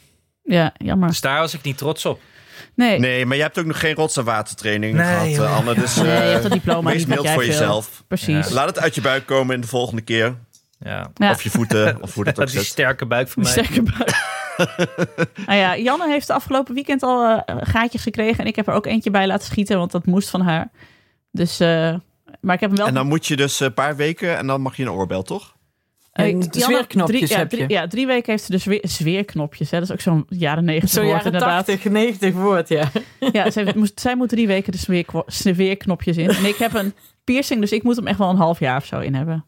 Ja, jammer.
Dus daar was ik niet trots op.
Nee,
nee, maar je hebt ook nog geen rots- en watertraining
Nee,
gehad, eh,
joh.
Anne. Dus
Nee, je
eh,
hebt dat diploma
wees
niet wat
mild
jij
voor
wil.
jezelf.
precies.
Laat het uit je buik komen in de volgende keer.
Ja.
Ja.
Of je voeten, of hoe dat ook
Dat is die
zit.
sterke buik van
Die
mij.
sterke buik. nou ja, Janne heeft de afgelopen weekend al eh, gaatjes gekregen. En ik heb er ook eentje bij laten schieten, want dat moest van haar. Dus, eh, maar ik heb hem wel...
En dan moet je dus een paar weken en dan mag je een oorbel, toch?
eh,
En
Janne-
zweerknopjes
drie, ja,
heb je.
drie- ja, drie weken heeft ze dus weer zweerknopjes. Hè? Dat is ook zo'n jaren negentig
Zo'n
woord
jaren
inderdaad.
80, 90 woord, ja.
Ja, zij moest, zij moet drie weken de smeerkwo- smeerknopjes in. En ik heb een piercing, dus ik moet hem echt wel een half jaar of zo in hebben.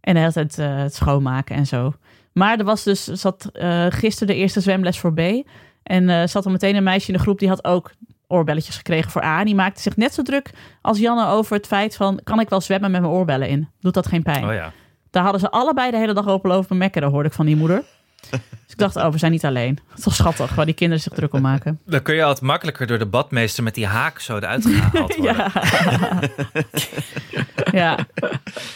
En de hele tijd eh, het schoonmaken en zo. Maar er was dus, zat eh gisteren de eerste zwemles voor B. En eh, zat er meteen een meisje in de groep die had ook oorbelletjes gekregen voor A. En die maakte zich net zo druk als Janne over het feit van... kan ik wel zwemmen met mijn oorbellen in? Doet dat geen pijn?
Oh ja.
Daar hadden ze allebei de hele dag open lopen mekkeren, hoorde ik van die moeder. Dus ik dacht, oh, we zijn niet alleen. Het is toch schattig waar die kinderen zich druk om maken.
Dan kun je altijd makkelijker door de badmeester met die haak zo eruit gehaald worden.
Ja. ja.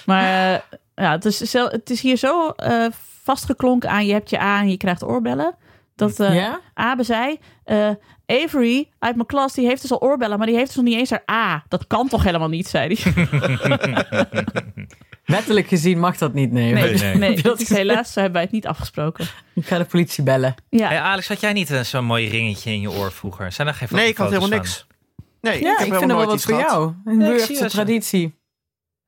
Maar eh, ja, het, is zo, het is hier zo eh, vastgeklonken aan je hebt je A en je krijgt oorbellen. Dat eh
Ja?
Abe zei, eh, Avery uit mijn klas, die heeft dus al oorbellen, maar die heeft dus nog niet eens haar A. Dat kan toch helemaal niet, zei hij.
Wettelijk gezien mag dat niet, nee.
Nee, nee.
nee dat is helaas, zo hebben wij het niet afgesproken.
Ik ga de politie bellen.
Ja,
Hey, Alex, had jij niet eh, zo'n mooi ringetje in je oor vroeger? Zijn er geen
Nee, ik had
foto's
helemaal
van?
niks. Nee,
Ja, ik,
helemaal
vind er
nooit
wel wat
iets
voor
gehad.
jou. Een
Ja, ik zie
Burgse
dat zo.
traditie.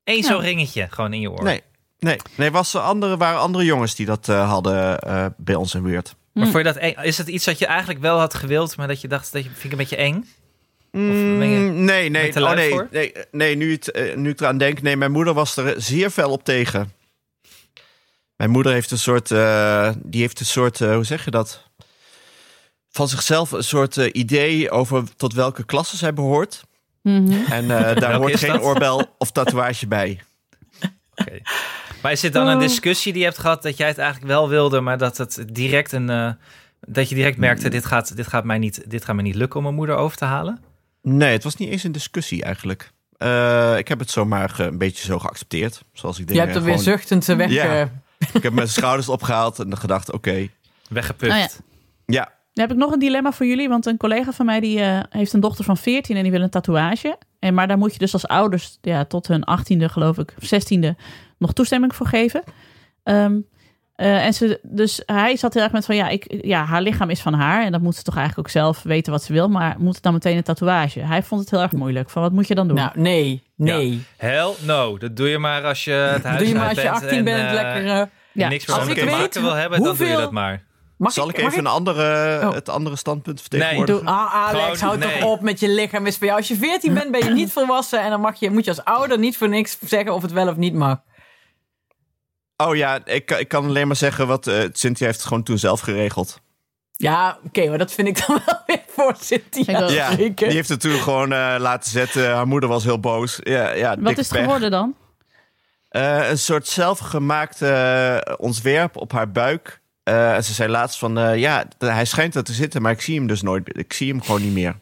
Eén zo'n ringetje gewoon in je oor.
Nee, nee. nee was er andere, waren andere jongens die dat eh, hadden eh, bij ons in de buurt.
Mm.
e- Maar voor je dat eng- is het iets dat je eigenlijk wel had gewild, maar dat je dacht dat je vind ik een beetje eng? Of ben je-
Mm, nee, nee,
je te
oh,
lui
nee,
voor?
nee, nee nu, het, eh, nu ik eraan denk, nee, mijn moeder was er zeer fel op tegen. Mijn moeder heeft een soort, eh, die heeft een soort, eh, hoe zeg je dat? Van zichzelf een soort eh, idee over tot welke klasse zij behoort.
Mhm.
En eh, daar hoort
is
geen
dat?
oorbel of tatoeage bij.
Oké. Maar is dit dan een
Oh.
discussie die je hebt gehad dat jij het eigenlijk wel wilde, maar dat het direct een. eh, dat je direct
Mm.
merkte, dit gaat, dit, gaat mij niet, dit gaat mij niet lukken om mijn moeder over te halen?
Nee, het was niet eens een discussie eigenlijk. Eh, ik heb het zomaar eh, een beetje zo geaccepteerd. Zoals ik
Je
denk.
hebt er weer zuchtend weg.
Ja.
eh,
Ik heb mijn schouders opgehaald en gedacht, oké.
Weggepukt.
Oh ja.
Ja,
Dan heb ik nog een dilemma voor jullie, want een collega van mij die eh, heeft een dochter van 14 en die wil een tatoeage. En, maar daar moet je dus als ouders ja, tot hun 18e, geloof ik, of 16e, nog toestemming voor geven. Ehm, eh, en ze, dus hij zat heel erg met van ja, ik, ja, haar lichaam is van haar en dat moet ze toch eigenlijk ook zelf weten wat ze wil, maar moet het dan meteen een tatoeage? Hij vond het heel erg moeilijk. Van wat moet je dan doen?
nou, nee, nee.
Hell no, dat doe je maar als je het huis
Doe je
uit
maar als je
bent
18
dus en,
bent,
eh,
lekker... eh,
Ja.
niks meer
Als
aan
ik
te
weet
maken wil hebben, dan doe je
hoeveel-
dat maar.
mag
Zal ik
mag
even een andere,
Oh.
het andere standpunt
Nee,
vertegenwoordigen?
doe-
Doe- ah, Alex,
Gewoon
houd
nee.
toch op met je lichaam. Is voor jou. Als je 14 bent, ben je niet volwassen. En dan mag je, moet je als ouder niet voor niks zeggen of het wel of niet mag.
Oh ja, ik, ik kan alleen maar zeggen wat eh Cynthia heeft het gewoon toen zelf geregeld.
Ja, oké, maar dat vind ik dan wel weer voor
Ik
Cynthia
ook.
Ja,
spreken.
die heeft het toen gewoon eh, laten zetten. Haar moeder was heel boos. Ja, ja,
wat
dikke
is het
pech.
geworden dan?
Eh, een soort zelfgemaakt eh, ontwerp op haar buik. Eh, en ze zei laatst van, eh, ja, d- hij schijnt er te zitten, maar ik zie hem dus nooit. Ik zie hem gewoon niet meer.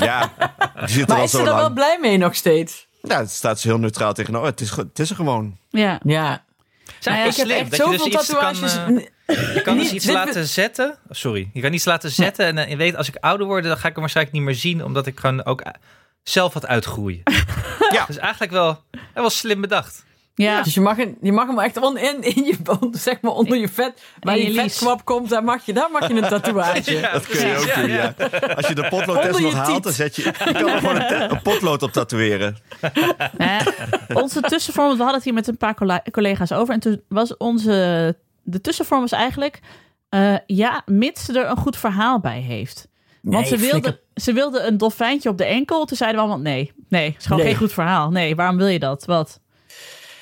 ja, die zit er
Maar
al
is ze
zo
er wel
lang.
blij mee nog steeds?
Ja, het staat ze heel neutraal tegenover. Oh, Het is, ge- het is er gewoon.
Ja.
Nou Ja.
Zijn
ik heb
Eh, slim,
echt
dat je dus
zoveel
iets kan,
tatoeages...
eh, Je kan dus
Niet-
iets
dit-
laten zetten. Oh, Sorry, je kan iets laten zetten. En eh, je weet, als ik ouder word, dan ga ik hem waarschijnlijk niet meer zien. Omdat ik gewoon ook eh, zelf wat uitgroeien.
Ja.
Dus eigenlijk wel, eh, wel slim bedacht.
Ja.
Dus je mag, een- je mag hem echt on, in, in je, on- zeg maar onder je vet. Waar
In
je,
je lies.
vetkwap komt, daar mag je, daar mag je een tatoeage.
Dat kun je
precies,
ook
ja,
doen,
ja.
ja. Als je de potloodtest
Onder je
nog haalt,
tiet.
dan zet je... Je kan er gewoon een, te- een potlood op tatoeëren.
Nou ja, onze tussenvorm, want we hadden het hier met een paar colla- collega's over. En toen was onze. De tussenvorm was eigenlijk. eh, ja, mits ze er een goed verhaal bij heeft. Want ze, wilde, ze wilde een dolfijntje op de enkel. Toen zeiden we allemaal: nee, nee, is gewoon
Nee.
geen goed verhaal. Nee, waarom wil je dat? Wat?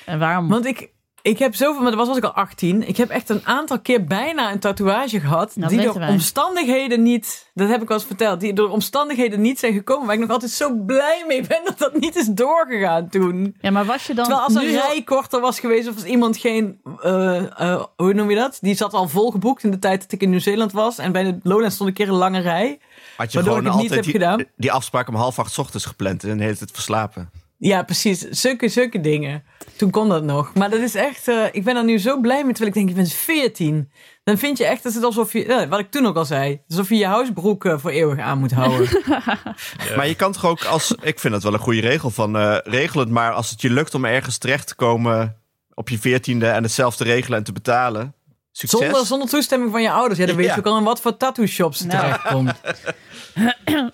En waarom?
Want ik, ik heb zoveel, maar dat was als ik al 18. Ik heb echt een aantal keer bijna een tatoeage gehad.
Dat
die
weten
door
wij.
omstandigheden niet, dat heb ik wel eens verteld, die door omstandigheden niet zijn gekomen. Waar ik nog altijd zo blij mee ben dat dat niet is doorgegaan toen.
ja, maar was je dan.
Terwijl als
nu
een
heel-
rij korter was geweest of als iemand geen, eh, eh, hoe noem je dat? Die zat al volgeboekt in de tijd dat ik in Nieuw-Zeeland was. En bij de Lowlands stond een keer een lange rij.
Had je
Waardoor ik
gewoon
het niet
altijd
heb gedaan.
die, die afspraak om half acht 's ochtends gepland en de hele tijd verslapen.
Ja, precies. Zulke, zulke dingen. Toen kon dat nog. Maar dat is echt... eh, ik ben daar nu zo blij mee. Terwijl ik denk, je bent 14. Dan vind je echt dat het alsof je... eh, wat ik toen ook al zei. Alsof je je housebroek eh, voor eeuwig aan moet houden.
Maar je kan toch ook als... Ik vind dat wel een goede regel van... eh, regel het maar als het je lukt om ergens terecht te komen op je veertiende en het zelf te regelen en te betalen. Succes.
zonder, zonder toestemming van je ouders. Ja, dan weet
Ja.
je ook al in wat voor tattoo shops het
Nou.
terechtkomt.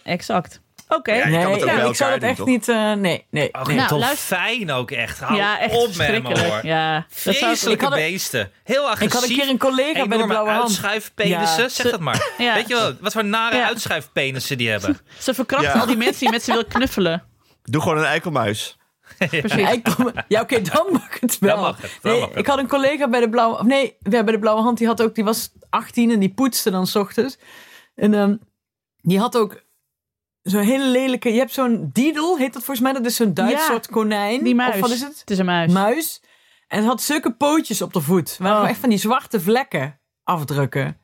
Exact. Oké.
Ja, je kan het ook bij
Nee, ik
elkaar
zou dat
doen,
echt
toch?
niet... eh, nee, nee.
Oh,
nee.
nou,
Nou,
fijn ook echt. Hou
Ja, echt
op met hem
verschrikkelijk.
hoor.
Ja, dat zou ik-
Vreselijke
Ik had een-
beesten. Heel
Ik
agressief.
had een keer een collega bij de
Enorme
Blauwe Hand.
uitschuifpenissen.
Ja,
zeg
ze-
dat maar.
Ja.
Weet je wel, wat voor nare
Ja.
uitschuifpenissen die hebben.
Ze verkracht
Ja.
al die mensen die met ze wil knuffelen.
Doe gewoon een eikelmuis.
Precies.
Ja, Dus ik kom- ja, oké, dan mag het wel.
Dan mag het, dan
nee,
mag het.
Ik had een collega bij de Blauwe... of Nee, ja, bij de Blauwe Hand, die, had ook, die was 18 en die poetste dan 's ochtends. En ehm, die had ook zo'n hele lelijke... Je hebt zo'n diedel, heet dat volgens mij? Dat is zo'n Duits
Ja,
soort konijn.
Die muis.
Of wat is het?
Het is een muis.
Muis. En het had zulke pootjes op de voet. Waar
Oh.
echt van die zwarte vlekken afdrukken.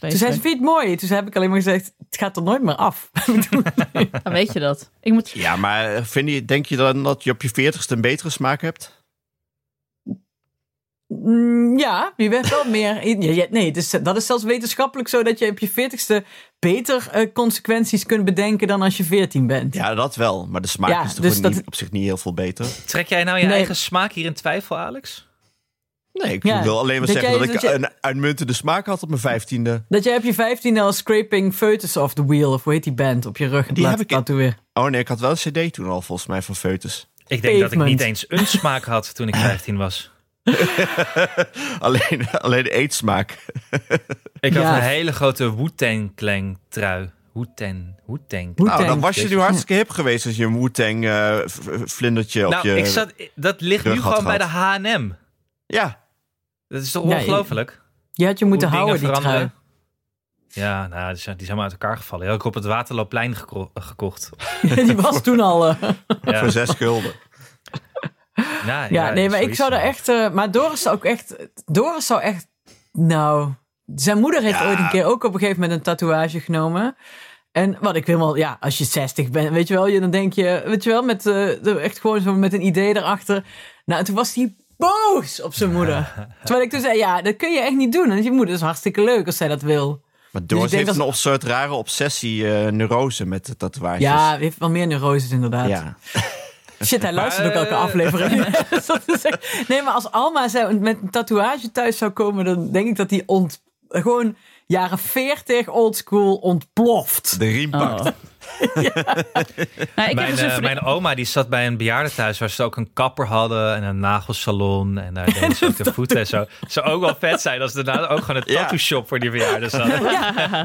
Toen zei
Vreselijk.
ze, vind je het mooi? Toen heb ik alleen maar gezegd, het gaat er nooit meer af.
Dan weet je dat. Ik moet...
Ja, maar eh, vind je, denk je dan dat je op je veertigste een betere smaak hebt?
Mm, Ja, wie weet wel meer. Ja, ja, Nee, het is, dat is zelfs wetenschappelijk zo dat je op je veertigste beter eh, consequenties kunt bedenken dan als je veertien bent.
Ja, dat wel. Maar de smaak
Ja,
is toch
dus
niet-
dat-
op zich niet heel veel beter.
Trek jij nou je
Nee.
eigen smaak hier in twijfel, Alex?
Nee, ik
Ja.
wil alleen maar
Dat
zeggen dat,
jij- dus-
ik
dat je-
een uitmuntende smaak had op mijn vijftiende.
Dat jij op je vijftiende al Scraping Fetus off the Wheel, of hoe heet die band, op je rug hebt
Die
laten
heb ik-
tatoeëren.
Oh nee, ik had wel een cd toen al volgens mij van Foetus.
Ik denk dat ik
Pavement.
niet eens een smaak had toen ik 15 was.
Alleen, alleen de eetsmaak.
Ik
Ja.
had een hele grote Wu-Tang Clan trui. Wu-Tang. Wu-Tang.
Wu-Tang.
Nou, dan was je
Jezus.
nu hartstikke hip geweest als je een Wu-Tang eh, v- v- vlindertje op
Nou,
je...
ik zat, dat ligt nu
rug had
gewoon bij de
gehad.
H&M.
Ja,
Dat is toch
Ja,
ongelooflijk?
Je had je
Hoe
moeten
dingen
houden, die trui.
veranderen. Ja, nou, die zijn, die zijn maar uit elkaar gevallen. Die had ik op het Waterloopplein geko- gekocht.
die was toen al... eh,
Ja,
voor zes gulden.
nou,
Ja, nee, maar ik
zoiets.
zou daar echt... eh, maar Doris zou ook echt... Doris zou echt... Nou... Zijn moeder heeft ooit een keer ook op een gegeven moment een tatoeage genomen. En wat ik helemaal... Ja, als je 60 bent, weet je wel. Je, dan denk je... Weet je wel, met, eh, echt gewoon zo met een idee erachter. Nou, en toen was hij boos op zijn moeder. Terwijl ik toen zei... Ja, dat kun je echt niet doen. En je moeder is hartstikke leuk als zij dat wil.
Maar
Dus ik
Doris
denk
heeft
dat-
een op- soort rare obsessie eh, neurose met de tatoeages.
Ja, heeft wel meer neuroses inderdaad.
dus- ja.
Shit, hij luistert ook
Maar,
elke
eh,
aflevering. Dat is echt- nee, maar als Alma zou, met een tatoeage thuis zou komen, dan denk ik dat die ont, gewoon jaren 40 oldschool ontploft.
De riem pakt.
Oh. Nou, ik heb
Mijn,
dus een
eh,
vriend-
mijn oma die zat bij een bejaardentehuis waar ze ook een kapper hadden en een nagelsalon. En daar deden ze ook de voeten en zo. Zou ook wel vet zijn als ze daarna ook gewoon een
Ja.
tattoo shop voor die bejaarden zaten.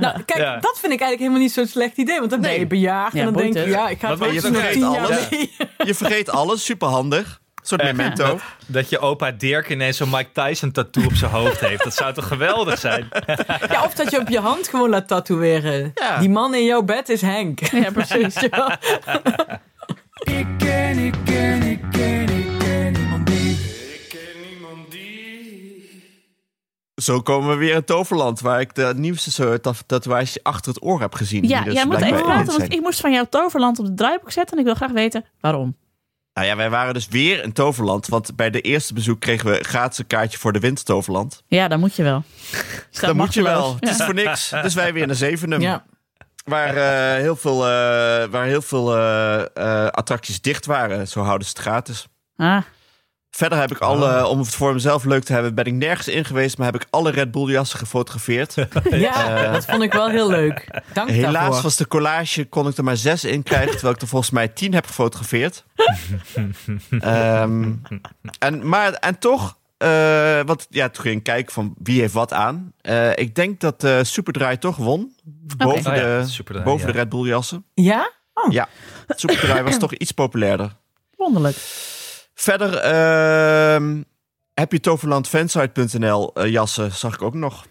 Nou, kijk,
Ja.
dat vind ik eigenlijk helemaal niet zo'n slecht idee, want dan ben je bejaard
Ja,
en dan
boeit
denk je,
het.
ja, ik ga
Wat
het wel
ben je
eens nog tien
vergeten,
jaar
alles?
mee.
Je vergeet alles, superhandig. Een soort memento.
Dat je opa Dirk ineens zo'n Mike Tyson tattoo op zijn hoofd heeft. Dat zou toch geweldig zijn?
Ja, of dat je op je hand gewoon laat tatoeëren.
Ja.
Die man in jouw bed is Henk.
Ja, precies.
Weet je wel?
Ik ken niemand die.
Zo komen we weer in Toverland, waar ik de nieuwste soort ta- tatoeage achter het oor heb gezien.
Ja,
die dus
jij moet
blijkbaar
even praten,
in zijn.
want ik moest van jouw toverland op de draaiboek zetten. En ik wil graag weten waarom.
Nou ja, wij waren dus weer in Toverland, want bij de eerste bezoek kregen we gratis een kaartje voor de winter Toverland.
Ja, dan moet je wel.
Dat moet je wel, het
Ja.
is voor niks. Dus wij weer naar Zevenum,
Ja.
waar eh, heel veel, eh, waar heel veel eh, eh, attracties dicht waren. Zo houden ze het gratis.
Ah,
Verder heb ik alle, om het voor mezelf leuk te hebben, ben ik nergens in geweest, maar heb ik alle Red Bull jassen gefotografeerd.
Ja, dat vond ik wel heel leuk. Dank
Helaas
daarvoor.
was de collage, kon ik er maar zes in krijgen, terwijl ik er volgens mij tien heb gefotografeerd. Ehm, en, maar, en toch, eh want ja, toen ging ik kijken van wie heeft wat aan. Eh, ik denk dat eh Superdraai toch won, boven,
Oh ja,
de,
Superdraai,
boven
ja.
de Red Bull jassen.
Ja?
Ja, Superdraai was toch iets populairder.
wonderlijk.
Verder ehm, heb je toverlandfansite.nl eh, jassen, zag ik ook nog.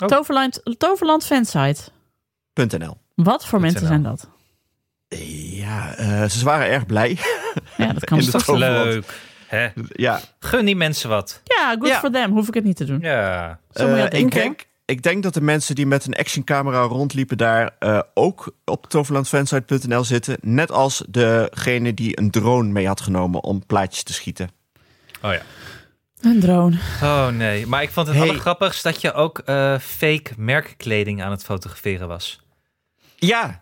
Oh.
Toverland, Toverland fansite.
.nl.
Wat voor mensen
NL.
zijn dat?
Ja, eh, ze waren erg blij.
Ja, dat kan
In de
toch.
top. Toverland.
Leuk. Hè?
ja.
Gun die mensen wat.
Ja, good
Ja.
for them. Hoef ik het niet te doen.
Ja.
Zo moet
Eh,
je dat
ik,
denken.
denk, ik denk dat de mensen die met een actioncamera rondliepen daar eh, ook op toverlandfansite.nl zitten. Net als degene die een drone mee had genomen om plaatjes te schieten.
Oh ja.
Een drone.
Oh nee. Maar ik vond het
Hey.
allergrappigst dat je ook eh, fake merkkleding aan het fotograferen was.
Ja,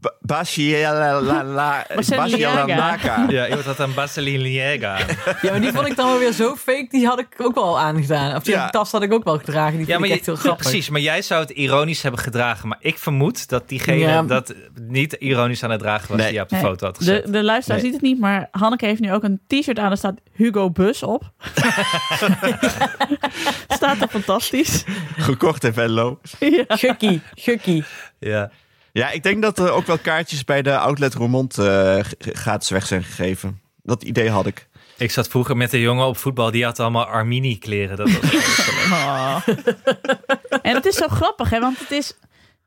B- Basialalala- Basialalaka.
Ja, iemand had een Baseline Liega aan.
Ja, maar die vond ik dan wel weer zo fake. Die had ik ook wel aangedaan. Of die
Ja.
tas had ik ook wel gedragen. Die
Ja,
vond
maar
ik
je,
echt heel
ja,
grappig.
precies. Maar jij zou het ironisch hebben gedragen. Maar ik vermoed dat diegene
Ja.
dat niet ironisch aan het dragen was
Nee.
die je op de
Nee.
foto had gezet.
De, de luisteraar
Nee.
ziet het niet, maar Hanneke heeft nu ook een t-shirt aan. Daar staat Hugo Bus op. staat er fantastisch.
Gekocht in Venlo.
ja.
Gukkie, gukkie.
Ja.
Ja, ik denk dat er ook wel kaartjes bij de outlet Roermond eh, g- gratis weg zijn gegeven. Dat idee had ik.
Ik zat vroeger met een jongen op voetbal. Die had allemaal Armini kleren. Dat was
Oh. en het is zo grappig, hè? Want het is.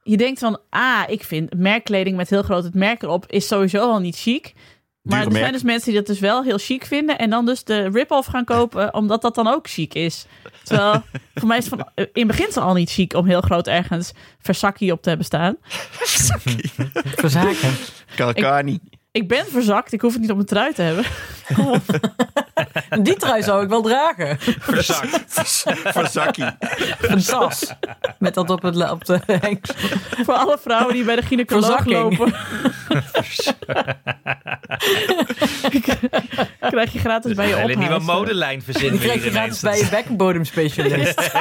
Je denkt van, ah, ik vind merkkleding met heel groot het merk erop is sowieso al niet chic. Maar er
Dure merk.
zijn dus mensen die dat dus wel heel chic vinden. En dan dus de rip-off gaan kopen, omdat dat dan ook chic is. Terwijl, voor mij is het van, in het begin al niet chic om heel groot ergens Versakkie op te hebben staan.
Verzaken.
Karakani.
Ik ben verzakt, ik hoef het niet op mijn trui te hebben.
Die trui zou ik wel dragen.
verzakt.
Verzakkie.
Een tas. Met dat op, het, la- op de hengst.
voor alle vrouwen die bij de gynaecoloog
Verzakking.
lopen. Krijg je gratis bij je
Dus een hele nieuwe
ophuis.
modelijn
Die
verzinnen we
krijg je
hier
gratis
ineens.
bij je bekkenbodemspecialist.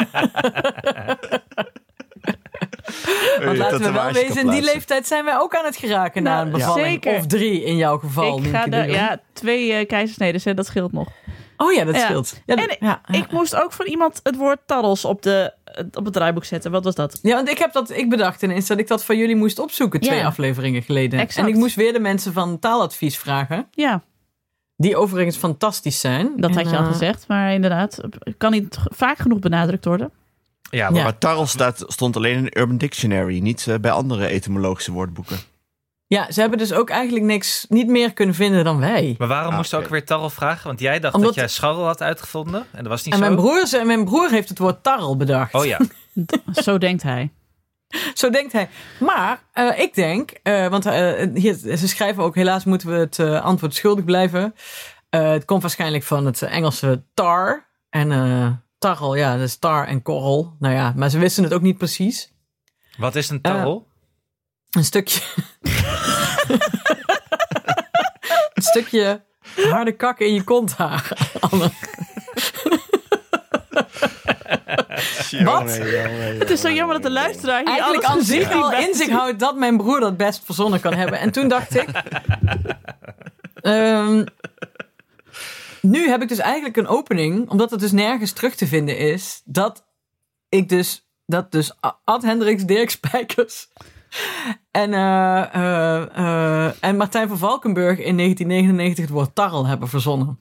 Want laten we wel wezen, in die leeftijd zijn wij ook aan het geraken na
Nou,
een bevalling.
zeker.
Of drie in jouw geval.
ik ga
Nienke de
daar,
Jong.
ja, twee eh, keizersneden, hè, dat scheelt nog.
Oh ja, dat
Ja.
scheelt. Ja,
En
dat- Ah, ja.
Ik moest ook van iemand het woord tarrels op de het op het draaiboek zetten. Wat was dat?
Ja, want ik heb dat, ik bedacht ineens dat ik dat van jullie moest opzoeken twee
Ja.
afleveringen geleden.
Exact.
En ik moest weer de mensen van taaladvies vragen,
Ja,
die overigens fantastisch zijn.
dat
En,
had je al
eh,
gezegd. Maar inderdaad, kan niet g- vaak genoeg benadrukt worden.
Ja,
Ja.
Maar tarl staat, stond alleen in Urban Dictionary, niet eh, bij andere etymologische woordboeken.
Ja, ze hebben dus ook eigenlijk niks, niet meer kunnen vinden dan wij.
Maar waarom
Ah,
moest
oké.
ook weer tarrel vragen? Want jij dacht
Omdat-
dat jij scharrel had uitgevonden. En dat was niet
En
zo.
mijn, broer, ze- mijn broer heeft het woord tarrel bedacht.
Oh ja.
Zo denkt hij.
Zo denkt hij. Maar eh, ik denk, eh, want eh, hier, ze schrijven ook helaas moeten we het eh, antwoord schuldig blijven. Eh, het komt waarschijnlijk van het Engelse tar. En eh tarrel, ja, dus tar en korrel. Nou ja, maar ze wisten het ook niet precies.
Wat is een tarrel?
Een stukje. een stukje harde kak in je kont haar. Anne. Wat?
Het is zo jammer dat de luisteraar hier
Eigenlijk
alles
aan zich
gezien
al
heeft.
in zich houdt dat mijn broer dat best verzonnen kan hebben. En toen dacht ik. ehm, nu heb ik dus eigenlijk een opening, omdat het dus nergens terug te vinden is, dat ik dus. Dat dus A- Ad Hendricks, Dirk Spijkers en, eh, eh, eh, en Martijn van Valkenburg in 1999 het woord tarrel hebben verzonnen.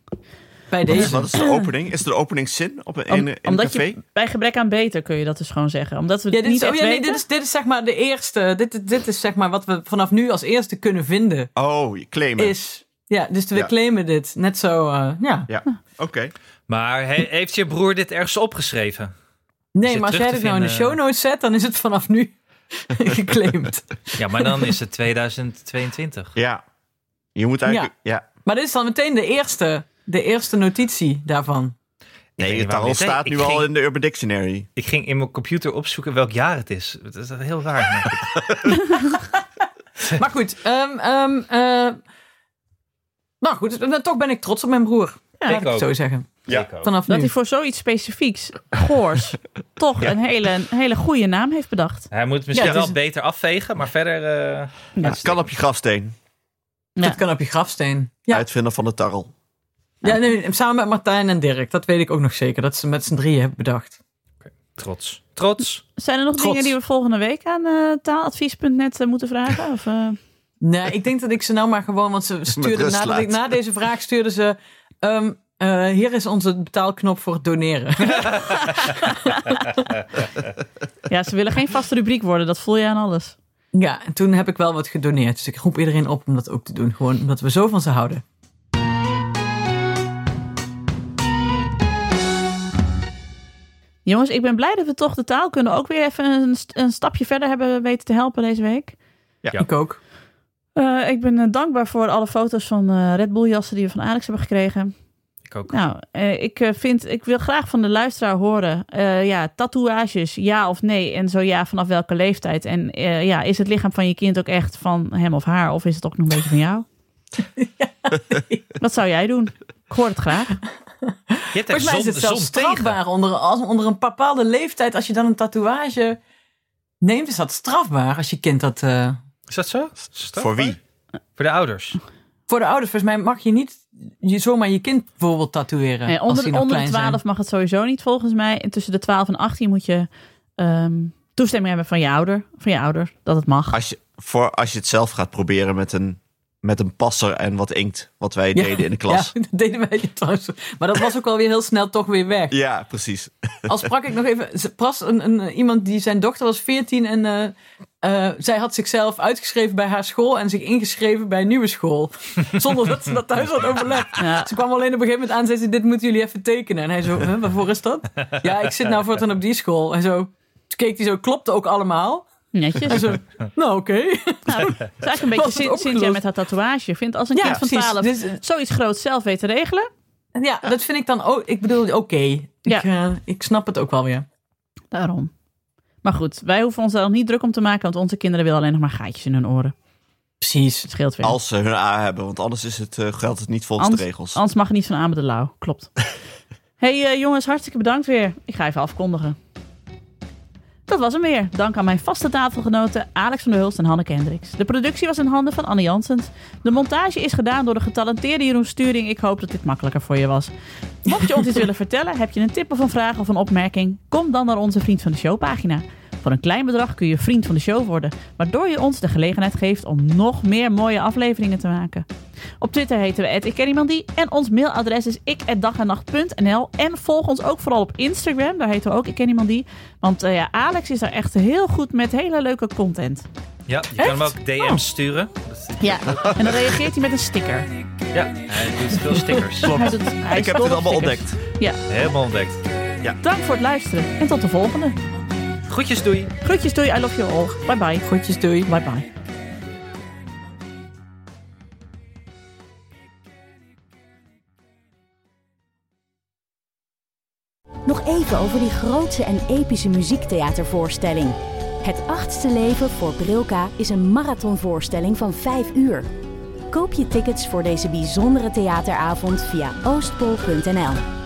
Bij
Wat is,
deze.
wat is de opening? Is er een openingszin op een,
Om-
in, een- in een
omdat
café?
je bij gebrek aan beter kun je dat dus gewoon zeggen. Omdat we
Ja,
het
dit
niet
is, oh
echt
ja, nee,
weten.
dit, is, dit is zeg maar de eerste. Dit, dit is zeg maar wat we vanaf nu als eerste kunnen vinden.
Oh, je claimen.
is. Ja, dus we
Ja.
claimen dit. Net zo, eh, ja.
Ja, oké.
Maar he- heeft je broer dit ergens opgeschreven?
Nee,
het
maar als
terug
jij
te
dit nou in de
vinden? eh,
show notes zet, dan is het vanaf nu geclaimd.
Ja, maar dan is het 2022.
Ja. Je moet eigenlijk... Ja.
maar dit is dan meteen de eerste, de eerste notitie daarvan.
weet
Nee,
niet
tarl
waarom dit-
staat
ik
nu
ging-
al in de Urban Dictionary.
Ik ging in mijn computer opzoeken welk jaar het is. Dat is heel raar. merk ik.
Maar goed, ehm, ehm, eh, nou goed, dan toch ben ik trots op mijn broer. Ja,
ik
ik het
ook.
zo zeggen.
Ja.
Ik ook.
Vanaf
Dat
nu.
hij voor zoiets specifieks, goors, toch een hele, een hele goede naam heeft bedacht.
Hij moet het misschien
Ja, het
wel
is-
beter afvegen, maar verder... eh,
Het kan op je grafsteen.
Dat kan op je grafsteen. Ja,
Uitvinder van de tarl.
ja nee, samen met Martijn en Dirk. Dat weet ik ook nog zeker. Dat ze met z'n drieën hebben bedacht.
Trots. Trots.
Zijn er nog
Trots.
dingen die we volgende week aan eh, taaladvies.net eh, moeten vragen? Of, eh,
Nee, ik denk dat ik ze nou maar gewoon, want ze stuurde
rust
na,
laat.
ik, na deze vraag stuurde ze. ehm, eh, hier is onze betaalknop voor het doneren.
ja, ze willen geen vaste rubriek worden, dat voel je aan alles.
ja, en toen heb ik wel wat gedoneerd. Dus ik roep iedereen op om dat ook te doen. Gewoon omdat we zo van ze houden.
Jongens, ik ben blij dat we toch de taal kunnen ook weer even een, st- een stapje verder hebben weten te helpen deze week.
Ja.
Ik ook.
Eh, ik ben eh, dankbaar voor alle foto's van eh, Red Bull jassen die we van Alex hebben gekregen.
Ik ook.
Nou, eh, ik, eh, vind, ik wil graag van de luisteraar horen. eh, ja, tatoeages, ja of nee? En zo ja, vanaf welke leeftijd? En eh, ja, is het lichaam van je kind ook echt van hem of haar? Of is het ook nog een beetje van jou? Wat zou jij doen? Ik hoor het graag.
Je hebt echt
Volgens mij is
zon,
het zelfs
zon tegen.
strafbaar. Onder, als, onder een bepaalde leeftijd, als je dan een tatoeage neemt, is dat strafbaar als je kind dat. eh,
Is dat zo? Is dat
Voor
strafbaar?
wie?
Voor de ouders.
voor de ouders, volgens mij mag je niet je, zomaar je kind bijvoorbeeld tatoeëren.
Nee,
Eh, als
Eh, onder
die
de,
nog
onder de
klein zijn.
12 mag het sowieso niet, volgens mij. En tussen de 12 en 18 moet je ehm, toestemming hebben van je ouder. Van je ouder, dat het mag.
Ah.
Als je, voor, als je het zelf gaat proberen met een, met een passer en wat inkt. Wat wij
Ja.
deden in de klas.
Ja, dat deden wij trouwens. Maar dat was ook alweer heel snel toch weer weg.
Ja, precies.
Al sprak ik nog even. ze- Pas een, een, iemand die zijn dochter was 14 en eh, eh, zij had zichzelf uitgeschreven bij haar school en zich ingeschreven bij een nieuwe school. Zonder dat ze dat thuis had overlegd.
Ja.
Ze kwam alleen op een gegeven moment aan en zei ze: Dit moeten jullie even tekenen. En hij zo: huh, Waarvoor is dat? Ja, ik zit nou voortaan op die school. En zo. Toen keek hij zo, klopte ook allemaal.
Netjes.
En zo, nou oké.
Nou, het is eigenlijk een beetje
Was het
Sin- Cynthia
opgelost?
met haar tatoeage. Vindt als een
Ja,
kind van
precies.
12
Dus, eh,
zoiets groots zelf weet te regelen.
Ja, dat vind ik dan ook. Ik bedoel, oké.
Ja.
Ik, eh, ik snap het ook wel weer.
Daarom. Maar goed, wij hoeven ons daar nog niet druk om te maken, want onze kinderen willen alleen nog maar gaatjes in hun oren.
Precies.
Het scheelt weer.
Als ze hun A hebben, want anders is het, eh, geldt het niet volgens
Anders-
de regels.
Anders mag het niet van aan met de lauw. Klopt. hey, eh, jongens, hartstikke bedankt weer. Ik ga even afkondigen. Dat was hem weer. Dank aan mijn vaste tafelgenoten Alex van der Hulst en Hanneke Hendricks. De productie was in handen van Anne Jansens. De montage is gedaan door de getalenteerde Jeroen Sturing. Ik hoop dat dit makkelijker voor je was. Mocht je ons iets willen vertellen, heb je een tip of een vraag of een opmerking, kom dan naar onze Vriend van de Show pagina. Voor een klein bedrag kun je vriend van de show worden, waardoor je ons de gelegenheid geeft om nog meer mooie afleveringen te maken. Op Twitter heten we @ikkenniemandie en ons mailadres is ik@dagennacht.nl en volg ons ook vooral op Instagram, daar heten we ook ik ken iemand die, want eh, ja, Alex is daar echt heel goed met hele leuke content.
Ja, je kan hem ook DM's sturen. Dat is-
Ja, en dan reageert hij met een sticker. Dus
ja, hij doet veel stickers.
Hij doet- hij
Ik heb
stopt
dit allemaal
stickers.
ontdekt.
Ja,
Helemaal ontdekt.
dank voor het luisteren en tot de volgende.
Groetjes, doei.
Groetjes doei, I love you all. Bye bye.
Goedjes, doei.
Bye bye.
Nog even over die grootse en epische muziektheatervoorstelling. Het achtste leven voor Brilka is een marathonvoorstelling van 5 uur. Koop je tickets voor deze bijzondere theateravond via oostpol.nl.